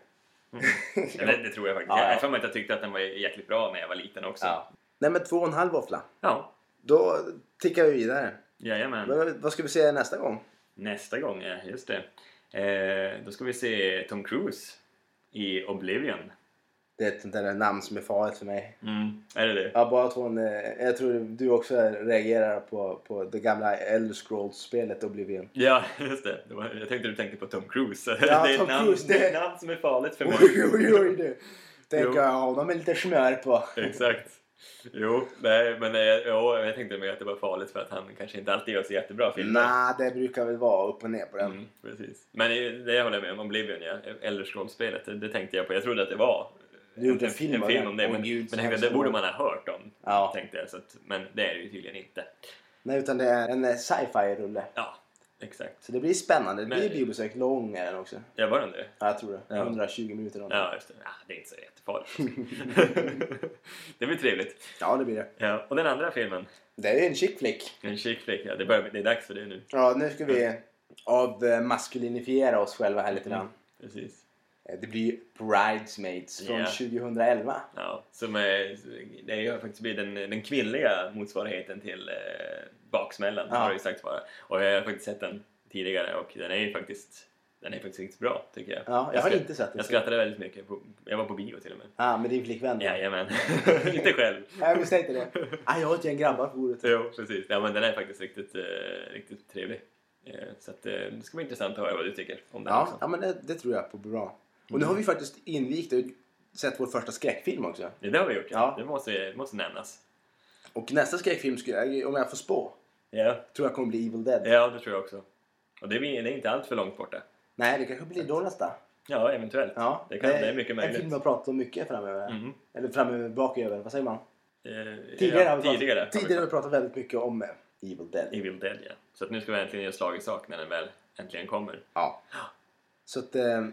Speaker 1: Ja, det, det tror jag faktiskt.
Speaker 2: Mm. Ja, ja.
Speaker 1: Jag har för mig att jag tyckte att den var jäkligt bra när jag var liten också.
Speaker 2: Ja. Nej men två och en halv våffla.
Speaker 1: ja.
Speaker 2: Då tickar vi vidare.
Speaker 1: Jajamän.
Speaker 2: Vad- Vad ska vi säga nästa gång?
Speaker 1: Nästa gång, ja, just det. Eh, då ska vi se Tom Cruise i Oblivion.
Speaker 2: Det är ett sånt där namn som är farligt för mig.
Speaker 1: Mm. Är det det?
Speaker 2: Ja, bara att hon... eh, Jag tror du också reagerar på, på det gamla Elder Scrolls-spelet Oblivion.
Speaker 1: Ja, just det. det var, jag tänkte du tänkte på Tom Cruise.
Speaker 2: Ja,
Speaker 1: [LAUGHS] det, är
Speaker 2: Tom
Speaker 1: ett namn,
Speaker 2: Cruise, det-
Speaker 1: det är ett namn som är farligt för mig.
Speaker 2: Oj, oj, oj du!
Speaker 1: Jo.
Speaker 2: Tänker jag honom med lite smör på.
Speaker 1: Exakt. Jo, nej, men eh, jo, jag tänkte mer att det var farligt för att han kanske inte alltid gör så jättebra filmer.
Speaker 2: Nej, det brukar väl vara upp och ner på den.
Speaker 1: Mm, precis. Men eh, det håller jag med om, Oblivion, ja. Elder Scrolls-spelet, det, det tänkte jag på. Jag trodde att det var
Speaker 2: Du gjorde en film
Speaker 1: en
Speaker 2: av
Speaker 1: film
Speaker 2: det.
Speaker 1: om det,
Speaker 2: Åh,
Speaker 1: men,
Speaker 2: gud,
Speaker 1: men
Speaker 2: så
Speaker 1: tänkte,
Speaker 2: hemskt
Speaker 1: det borde
Speaker 2: roligt.
Speaker 1: man ha hört om.
Speaker 2: Ja.
Speaker 1: Tänkte jag, så att, men det är det ju tydligen inte.
Speaker 2: Nej, utan det är en eh, sci-fi-rulle.
Speaker 1: Ja, exakt.
Speaker 2: Så det blir spännande. Det
Speaker 1: Men-
Speaker 2: blir biobesök. Lång är den också.
Speaker 1: Ja, var den det?
Speaker 2: Ja, jag tror det.
Speaker 1: Ja.
Speaker 2: 120 minuter. någonting.
Speaker 1: Ja, just det. Ja, det är inte så
Speaker 2: [LAUGHS]
Speaker 1: jättefarligt. [LAUGHS] det blir trevligt.
Speaker 2: ja, det blir det.
Speaker 1: Ja, och den andra filmen,
Speaker 2: Det är ju en chick flick.
Speaker 1: en chick flick, ja, det, börjar, det är dags för det nu.
Speaker 2: Ja, nu ska vi
Speaker 1: Mm.
Speaker 2: avmaskulinifiera oss själva här lite grann.
Speaker 1: Precis.
Speaker 2: Eh, Det blir Bridesmaids från
Speaker 1: Ja.
Speaker 2: 2011.
Speaker 1: Ja, som är, det har faktiskt blivit den, den kvinnliga motsvarigheten till eh, Baksmällan,
Speaker 2: Ja.
Speaker 1: har det ju sagts vara. Och jag har faktiskt sett den tidigare och den är ju faktiskt, den är faktiskt riktigt bra, tycker jag.
Speaker 2: Ja, jag har
Speaker 1: skra-
Speaker 2: inte sett den.
Speaker 1: Jag skrattade väldigt mycket. På, jag var på bio till och med.
Speaker 2: Ja, ah, men din flickvän då? [LAUGHS]
Speaker 1: Jajamän. inte själv.
Speaker 2: Ja, Jag misstänkte det.
Speaker 1: [LAUGHS]
Speaker 2: Ah, jag har ett gäng grabbar på bordet.
Speaker 1: Jo, precis. Ja, men den är faktiskt riktigt, eh, riktigt trevlig. Eh, så att, eh, det ska bli intressant att höra vad du tycker om den
Speaker 2: Ja,
Speaker 1: också.
Speaker 2: ja men det, det tror jag på bra. Och
Speaker 1: Mm.
Speaker 2: nu har vi faktiskt invigt och sett vår första skräckfilm också.
Speaker 1: Det har vi gjort, ja.
Speaker 2: Ja.
Speaker 1: Det måste, måste nämnas.
Speaker 2: Och nästa skräckfilm, skulle jag, om jag får spå,
Speaker 1: Ja.
Speaker 2: tror jag kommer bli Evil Dead.
Speaker 1: ja, det tror jag också. Och det är, det är inte allt för långt borta.
Speaker 2: Nej, det kanske blir då nästa.
Speaker 1: Ja, eventuellt.
Speaker 2: Ja,
Speaker 1: det, kan, det är mycket
Speaker 2: En
Speaker 1: möjligt.
Speaker 2: film vi har pratat om mycket framöver.
Speaker 1: Mm.
Speaker 2: Eller framöver, baköver, vad säger man?
Speaker 1: Eh,
Speaker 2: Tidigare,
Speaker 1: ja,
Speaker 2: har, vi pratat,
Speaker 1: tidigare,
Speaker 2: tidigare har
Speaker 1: har
Speaker 2: vi pratat väldigt mycket om eh, Evil Dead.
Speaker 1: vi Evil Dead, ja. Så att nu ska vi äntligen göra slag i sak när den väl äntligen kommer.
Speaker 2: Ja. Så att, eh,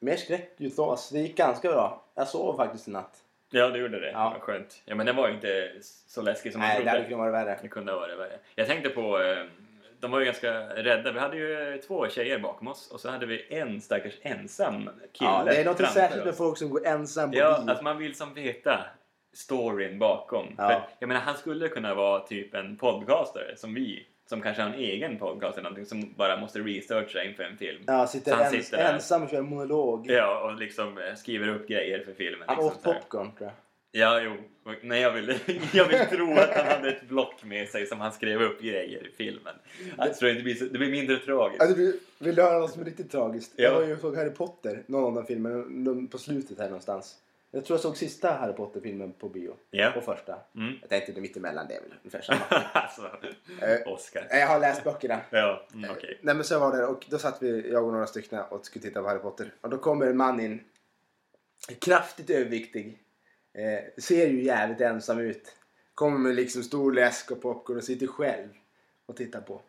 Speaker 2: mer skräck utav oss. Det gick ganska bra. Jag sov faktiskt i natt.
Speaker 1: Ja, du gjorde det.
Speaker 2: Ja.
Speaker 1: Vad skönt. Ja, men den var ju inte så läskig som man
Speaker 2: Nej, det
Speaker 1: trodde.
Speaker 2: hade kunnat vara värre.
Speaker 1: Det kunde ha varit värre. Jag tänkte på... eh, De var ju ganska rädda. Vi hade ju eh, två tjejer bakom oss och så hade vi en stackars ensam kille
Speaker 2: Ja, det är något
Speaker 1: framför
Speaker 2: särskilt med
Speaker 1: oss.
Speaker 2: folk som går ensam på
Speaker 1: Ja,
Speaker 2: bio.
Speaker 1: alltså man vill som veta storyn bakom.
Speaker 2: Ja.
Speaker 1: För, jag menar, han skulle kunna vara typ en podcastare som vi, som kanske har en egen podcast eller någonting, som bara måste researcha inför en film.
Speaker 2: ja,
Speaker 1: så
Speaker 2: sitter,
Speaker 1: han
Speaker 2: ens,
Speaker 1: sitter där.
Speaker 2: ensam och kör monolog.
Speaker 1: Ja, och liksom eh, skriver upp grejer för filmen.
Speaker 2: Han
Speaker 1: Liksom,
Speaker 2: åt
Speaker 1: så här.
Speaker 2: popcorn tror jag.
Speaker 1: ja, jo. Nej, jag vill, [LAUGHS] jag vill tro att han hade ett block med sig som han skrev upp grejer i filmen. Jag tror det blir, så, det blir mindre tragiskt.
Speaker 2: Alltså, vill, vill du höra något som är riktigt tragiskt?
Speaker 1: Ja.
Speaker 2: Jag var ju och såg Harry Potter, någon av de filmerna, på slutet här någonstans. Jag tror jag såg sista Harry Potter-filmen på bio.
Speaker 1: Ja.
Speaker 2: Och första.
Speaker 1: Mm. [LAUGHS]
Speaker 2: Jag tänkte det är mittemellan, det är väl ungefär samma. [LAUGHS]
Speaker 1: alltså,
Speaker 2: Eh,
Speaker 1: Oscar.
Speaker 2: jag har läst böckerna.
Speaker 1: Ja, mm, okej.
Speaker 2: Eh, Nej men så var det och då satt vi, jag och några stycken och skulle titta på Harry Potter. Och då kommer en man in. Kraftigt överviktig. Eh, ser ju jävligt ensam ut. Kommer med liksom stor läsk och popcorn och sitter själv och tittar på.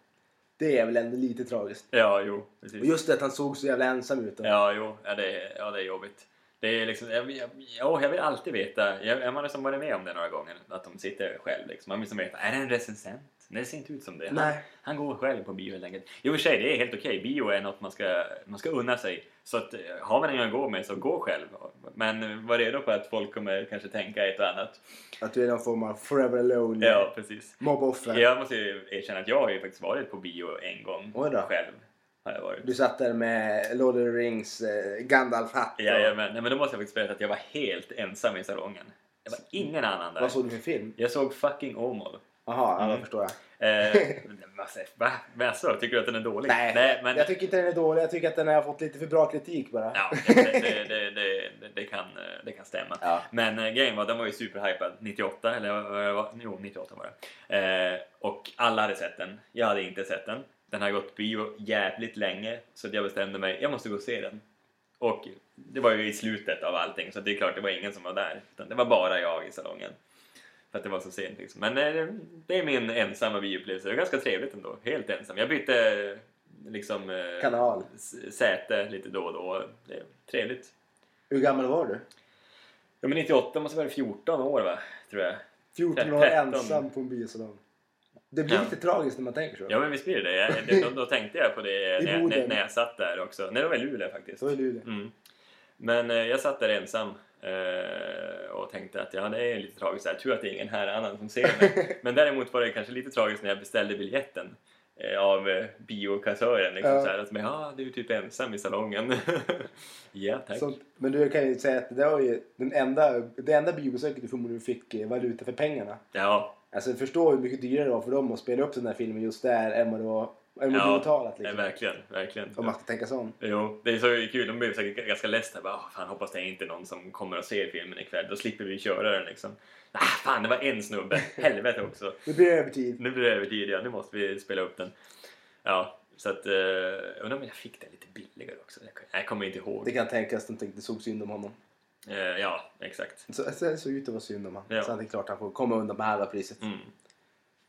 Speaker 2: Det är väl ändå lite tragiskt.
Speaker 1: Ja, jo.
Speaker 2: Och
Speaker 1: Precis.
Speaker 2: just det att han såg så jävla ensam ut. Och,
Speaker 1: Ja, jo. Ja, det, är- ja, det är jobbigt. Det är liksom, jag, jag, ja, jag vill alltid veta, jag, man har liksom varit med om det några gånger, att de sitter själv liksom. Man vill liksom veta, är det en recensent? Nej, det ser inte ut som det. Han,
Speaker 2: Nej.
Speaker 1: han går själv på bio helt enkelt. Jo, i och för sig, det är helt okej. Bio är något man ska, man ska unna sig. Så att, eh, har man ingen att gå med så gå själv. Men var redo på att folk kommer kanske tänka ett och annat.
Speaker 2: Att du är någon form av forever alone
Speaker 1: Ja, precis.
Speaker 2: mobboffer.
Speaker 1: Jag måste ju erkänna att jag har ju faktiskt varit på bio en gång
Speaker 2: Oj då.
Speaker 1: själv. Har jag varit.
Speaker 2: Du satt där med Lord of the Rings eh, Gandalf-hatt. och-
Speaker 1: Jajamän. Nej, men då måste jag faktiskt berätta att jag var helt ensam i salongen. Det var ingen annan där.
Speaker 2: Vad såg du för film?
Speaker 1: Jag såg fucking Åmål.
Speaker 2: Jaha, ja, då
Speaker 1: Mm.
Speaker 2: förstår jag. [LAUGHS]
Speaker 1: Eh, men alltså, va? Men alltså, tycker du att den är dålig?
Speaker 2: Nej,
Speaker 1: men...
Speaker 2: jag tycker inte den är dålig. Jag tycker att den har fått lite för bra kritik bara.
Speaker 1: Ja, det, det, det,
Speaker 2: [LAUGHS]
Speaker 1: det, det, kan, eh, det kan stämma.
Speaker 2: Ja.
Speaker 1: Men eh, grejen var, den var ju superhypad 98, eller eh, vad var Jo, 98 var det. Eh, och alla hade sett den. Jag hade inte sett den. Den har gått bio jävligt länge, så att jag bestämde mig, jag måste gå och se den. Och det var ju i slutet av allting, så det är klart, det var ingen som var där. Utan det var bara jag i salongen. För att det var så sent liksom. Men eh, det är min ensamma bioupplevelse. Det var ganska trevligt ändå. Helt ensam. Jag bytte eh, liksom... eh,
Speaker 2: Kanal.
Speaker 1: s- säte lite då och då. Det är trevligt.
Speaker 2: Hur gammal var du?
Speaker 1: Ja, men 98 måste vara 14 år va? Tror jag.
Speaker 2: 14 år
Speaker 1: Tretton.
Speaker 2: ensam på en biosalong. Det blir
Speaker 1: Ja.
Speaker 2: lite tragiskt när man tänker så.
Speaker 1: Ja men visst blir det Jag- det. Då, då tänkte jag på det
Speaker 2: I
Speaker 1: när jag, när,
Speaker 2: Boden.
Speaker 1: när jag satt där också. Nej, det var i Luleå faktiskt.
Speaker 2: Så är du det.
Speaker 1: Mm. Men eh, jag satt där ensam eh, och tänkte att ja, det är lite tragiskt. Jag tror att det är ingen här annan som ser [LAUGHS] mig. Men däremot var det kanske lite tragiskt när jag beställde biljetten eh, av eh, biokassören. Liksom,
Speaker 2: Ja.
Speaker 1: så här, att, men, ja, du är typ ensam i salongen. [LAUGHS] ja, tack.
Speaker 2: Sånt. Men du kan ju säga att det där var ju den enda, det enda biobesöket du förmodligen fick eh, valuta för pengarna.
Speaker 1: Ja,
Speaker 2: Alltså förstå hur mycket dyrare det var för dem att spela upp den här filmen just där än vad det var än vad
Speaker 1: Ja,
Speaker 2: du betalat liksom.
Speaker 1: eh, verkligen. verkligen.
Speaker 2: Om man ska tänka sånt.
Speaker 1: Jo, det är så kul. De blev säkert ganska less där. Bara, "Åh, fan, hoppas det är inte någon som kommer och ser filmen ikväll. Då slipper vi köra den liksom. Ah, fan, det var en
Speaker 2: [LAUGHS]
Speaker 1: snubbe. Helvete också.
Speaker 2: Nu blir det övertid.
Speaker 1: Nu blir det övertid igen. Nu måste vi spela upp den. Ja, så att... Eh, jag undrar om jag fick den lite billigare också. Jag kom- Jag kommer inte ihåg.
Speaker 2: Det kan tänkas de tänkte såg synd om honom.
Speaker 1: Eh, ja, exakt.
Speaker 2: Så, så det såg ut att vara synd om honom.
Speaker 1: Ja.
Speaker 2: Så att det är klart han får komma undan med halva priset.
Speaker 1: Mm.
Speaker 2: Nej,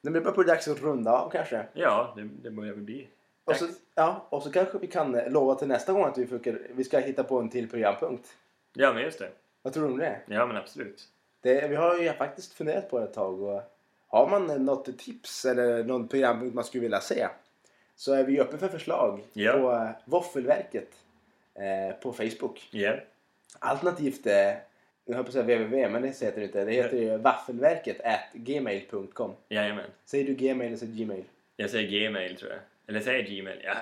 Speaker 2: men det börjar bli dags att runda av kanske.
Speaker 1: Ja, det, det börjar väl bli.
Speaker 2: Och
Speaker 1: Dags.
Speaker 2: så, ja, och så kanske vi kan eh, lova till nästa gång att vi, försöker, vi ska hitta på en till programpunkt.
Speaker 1: Ja, men just det.
Speaker 2: Vad tror du om det?
Speaker 1: Ja, men absolut.
Speaker 2: det vi har ju faktiskt funderat på det ett tag. Och har man eh, något tips eller någon programpunkt man skulle vilja se så är vi öppna för förslag
Speaker 1: Ja.
Speaker 2: på eh, Våffelverket eh, på Facebook.
Speaker 1: Ja.
Speaker 2: Alternativt, eh, jag höll på att säga www, men det heter det inte. Det heter ju vaffelverket at gmail.com.
Speaker 1: Jajamän.
Speaker 2: Säger du gmail eller säger du gmail?
Speaker 1: Jag säger Gmail, tror jag. Eller säger jag Gmail? Ja,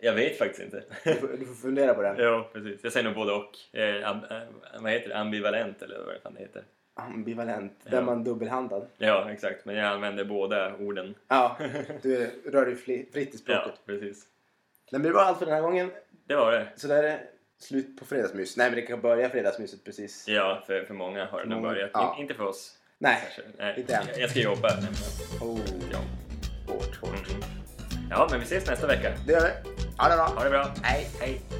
Speaker 1: jag vet faktiskt inte. [LAUGHS]
Speaker 2: Du får, du får fundera på det.
Speaker 1: Ja, precis. Jag säger nog både och. Eh, am, eh, vad heter det? Ambivalent eller vad det fan det heter.
Speaker 2: Ambivalent,
Speaker 1: Ja.
Speaker 2: där man dubbelhandlar.
Speaker 1: Ja, exakt. Men jag använder båda orden. [LAUGHS]
Speaker 2: Ja, du rör dig fli- fritt i
Speaker 1: Ja,
Speaker 2: språket.
Speaker 1: precis.
Speaker 2: Nej, men det var allt för den här gången.
Speaker 1: Det var det.
Speaker 2: Så där är det slut på fredagsmys. Nej, men det kan börja fredagsmyset precis.
Speaker 1: Ja, för, för många har det nog
Speaker 2: många.
Speaker 1: börjat.
Speaker 2: Mm, Ja.
Speaker 1: In, inte för oss.
Speaker 2: Nej.
Speaker 1: kanske. Nej,
Speaker 2: Inte än.
Speaker 1: jag, jag ska jobba. nämligen.
Speaker 2: Oh,
Speaker 1: Ja.
Speaker 2: hårt, hårt.
Speaker 1: Mm. ja, men vi ses nästa vecka.
Speaker 2: Det gör vi. Ha det bra.
Speaker 1: Ha det bra.
Speaker 2: Hej.
Speaker 1: Hej.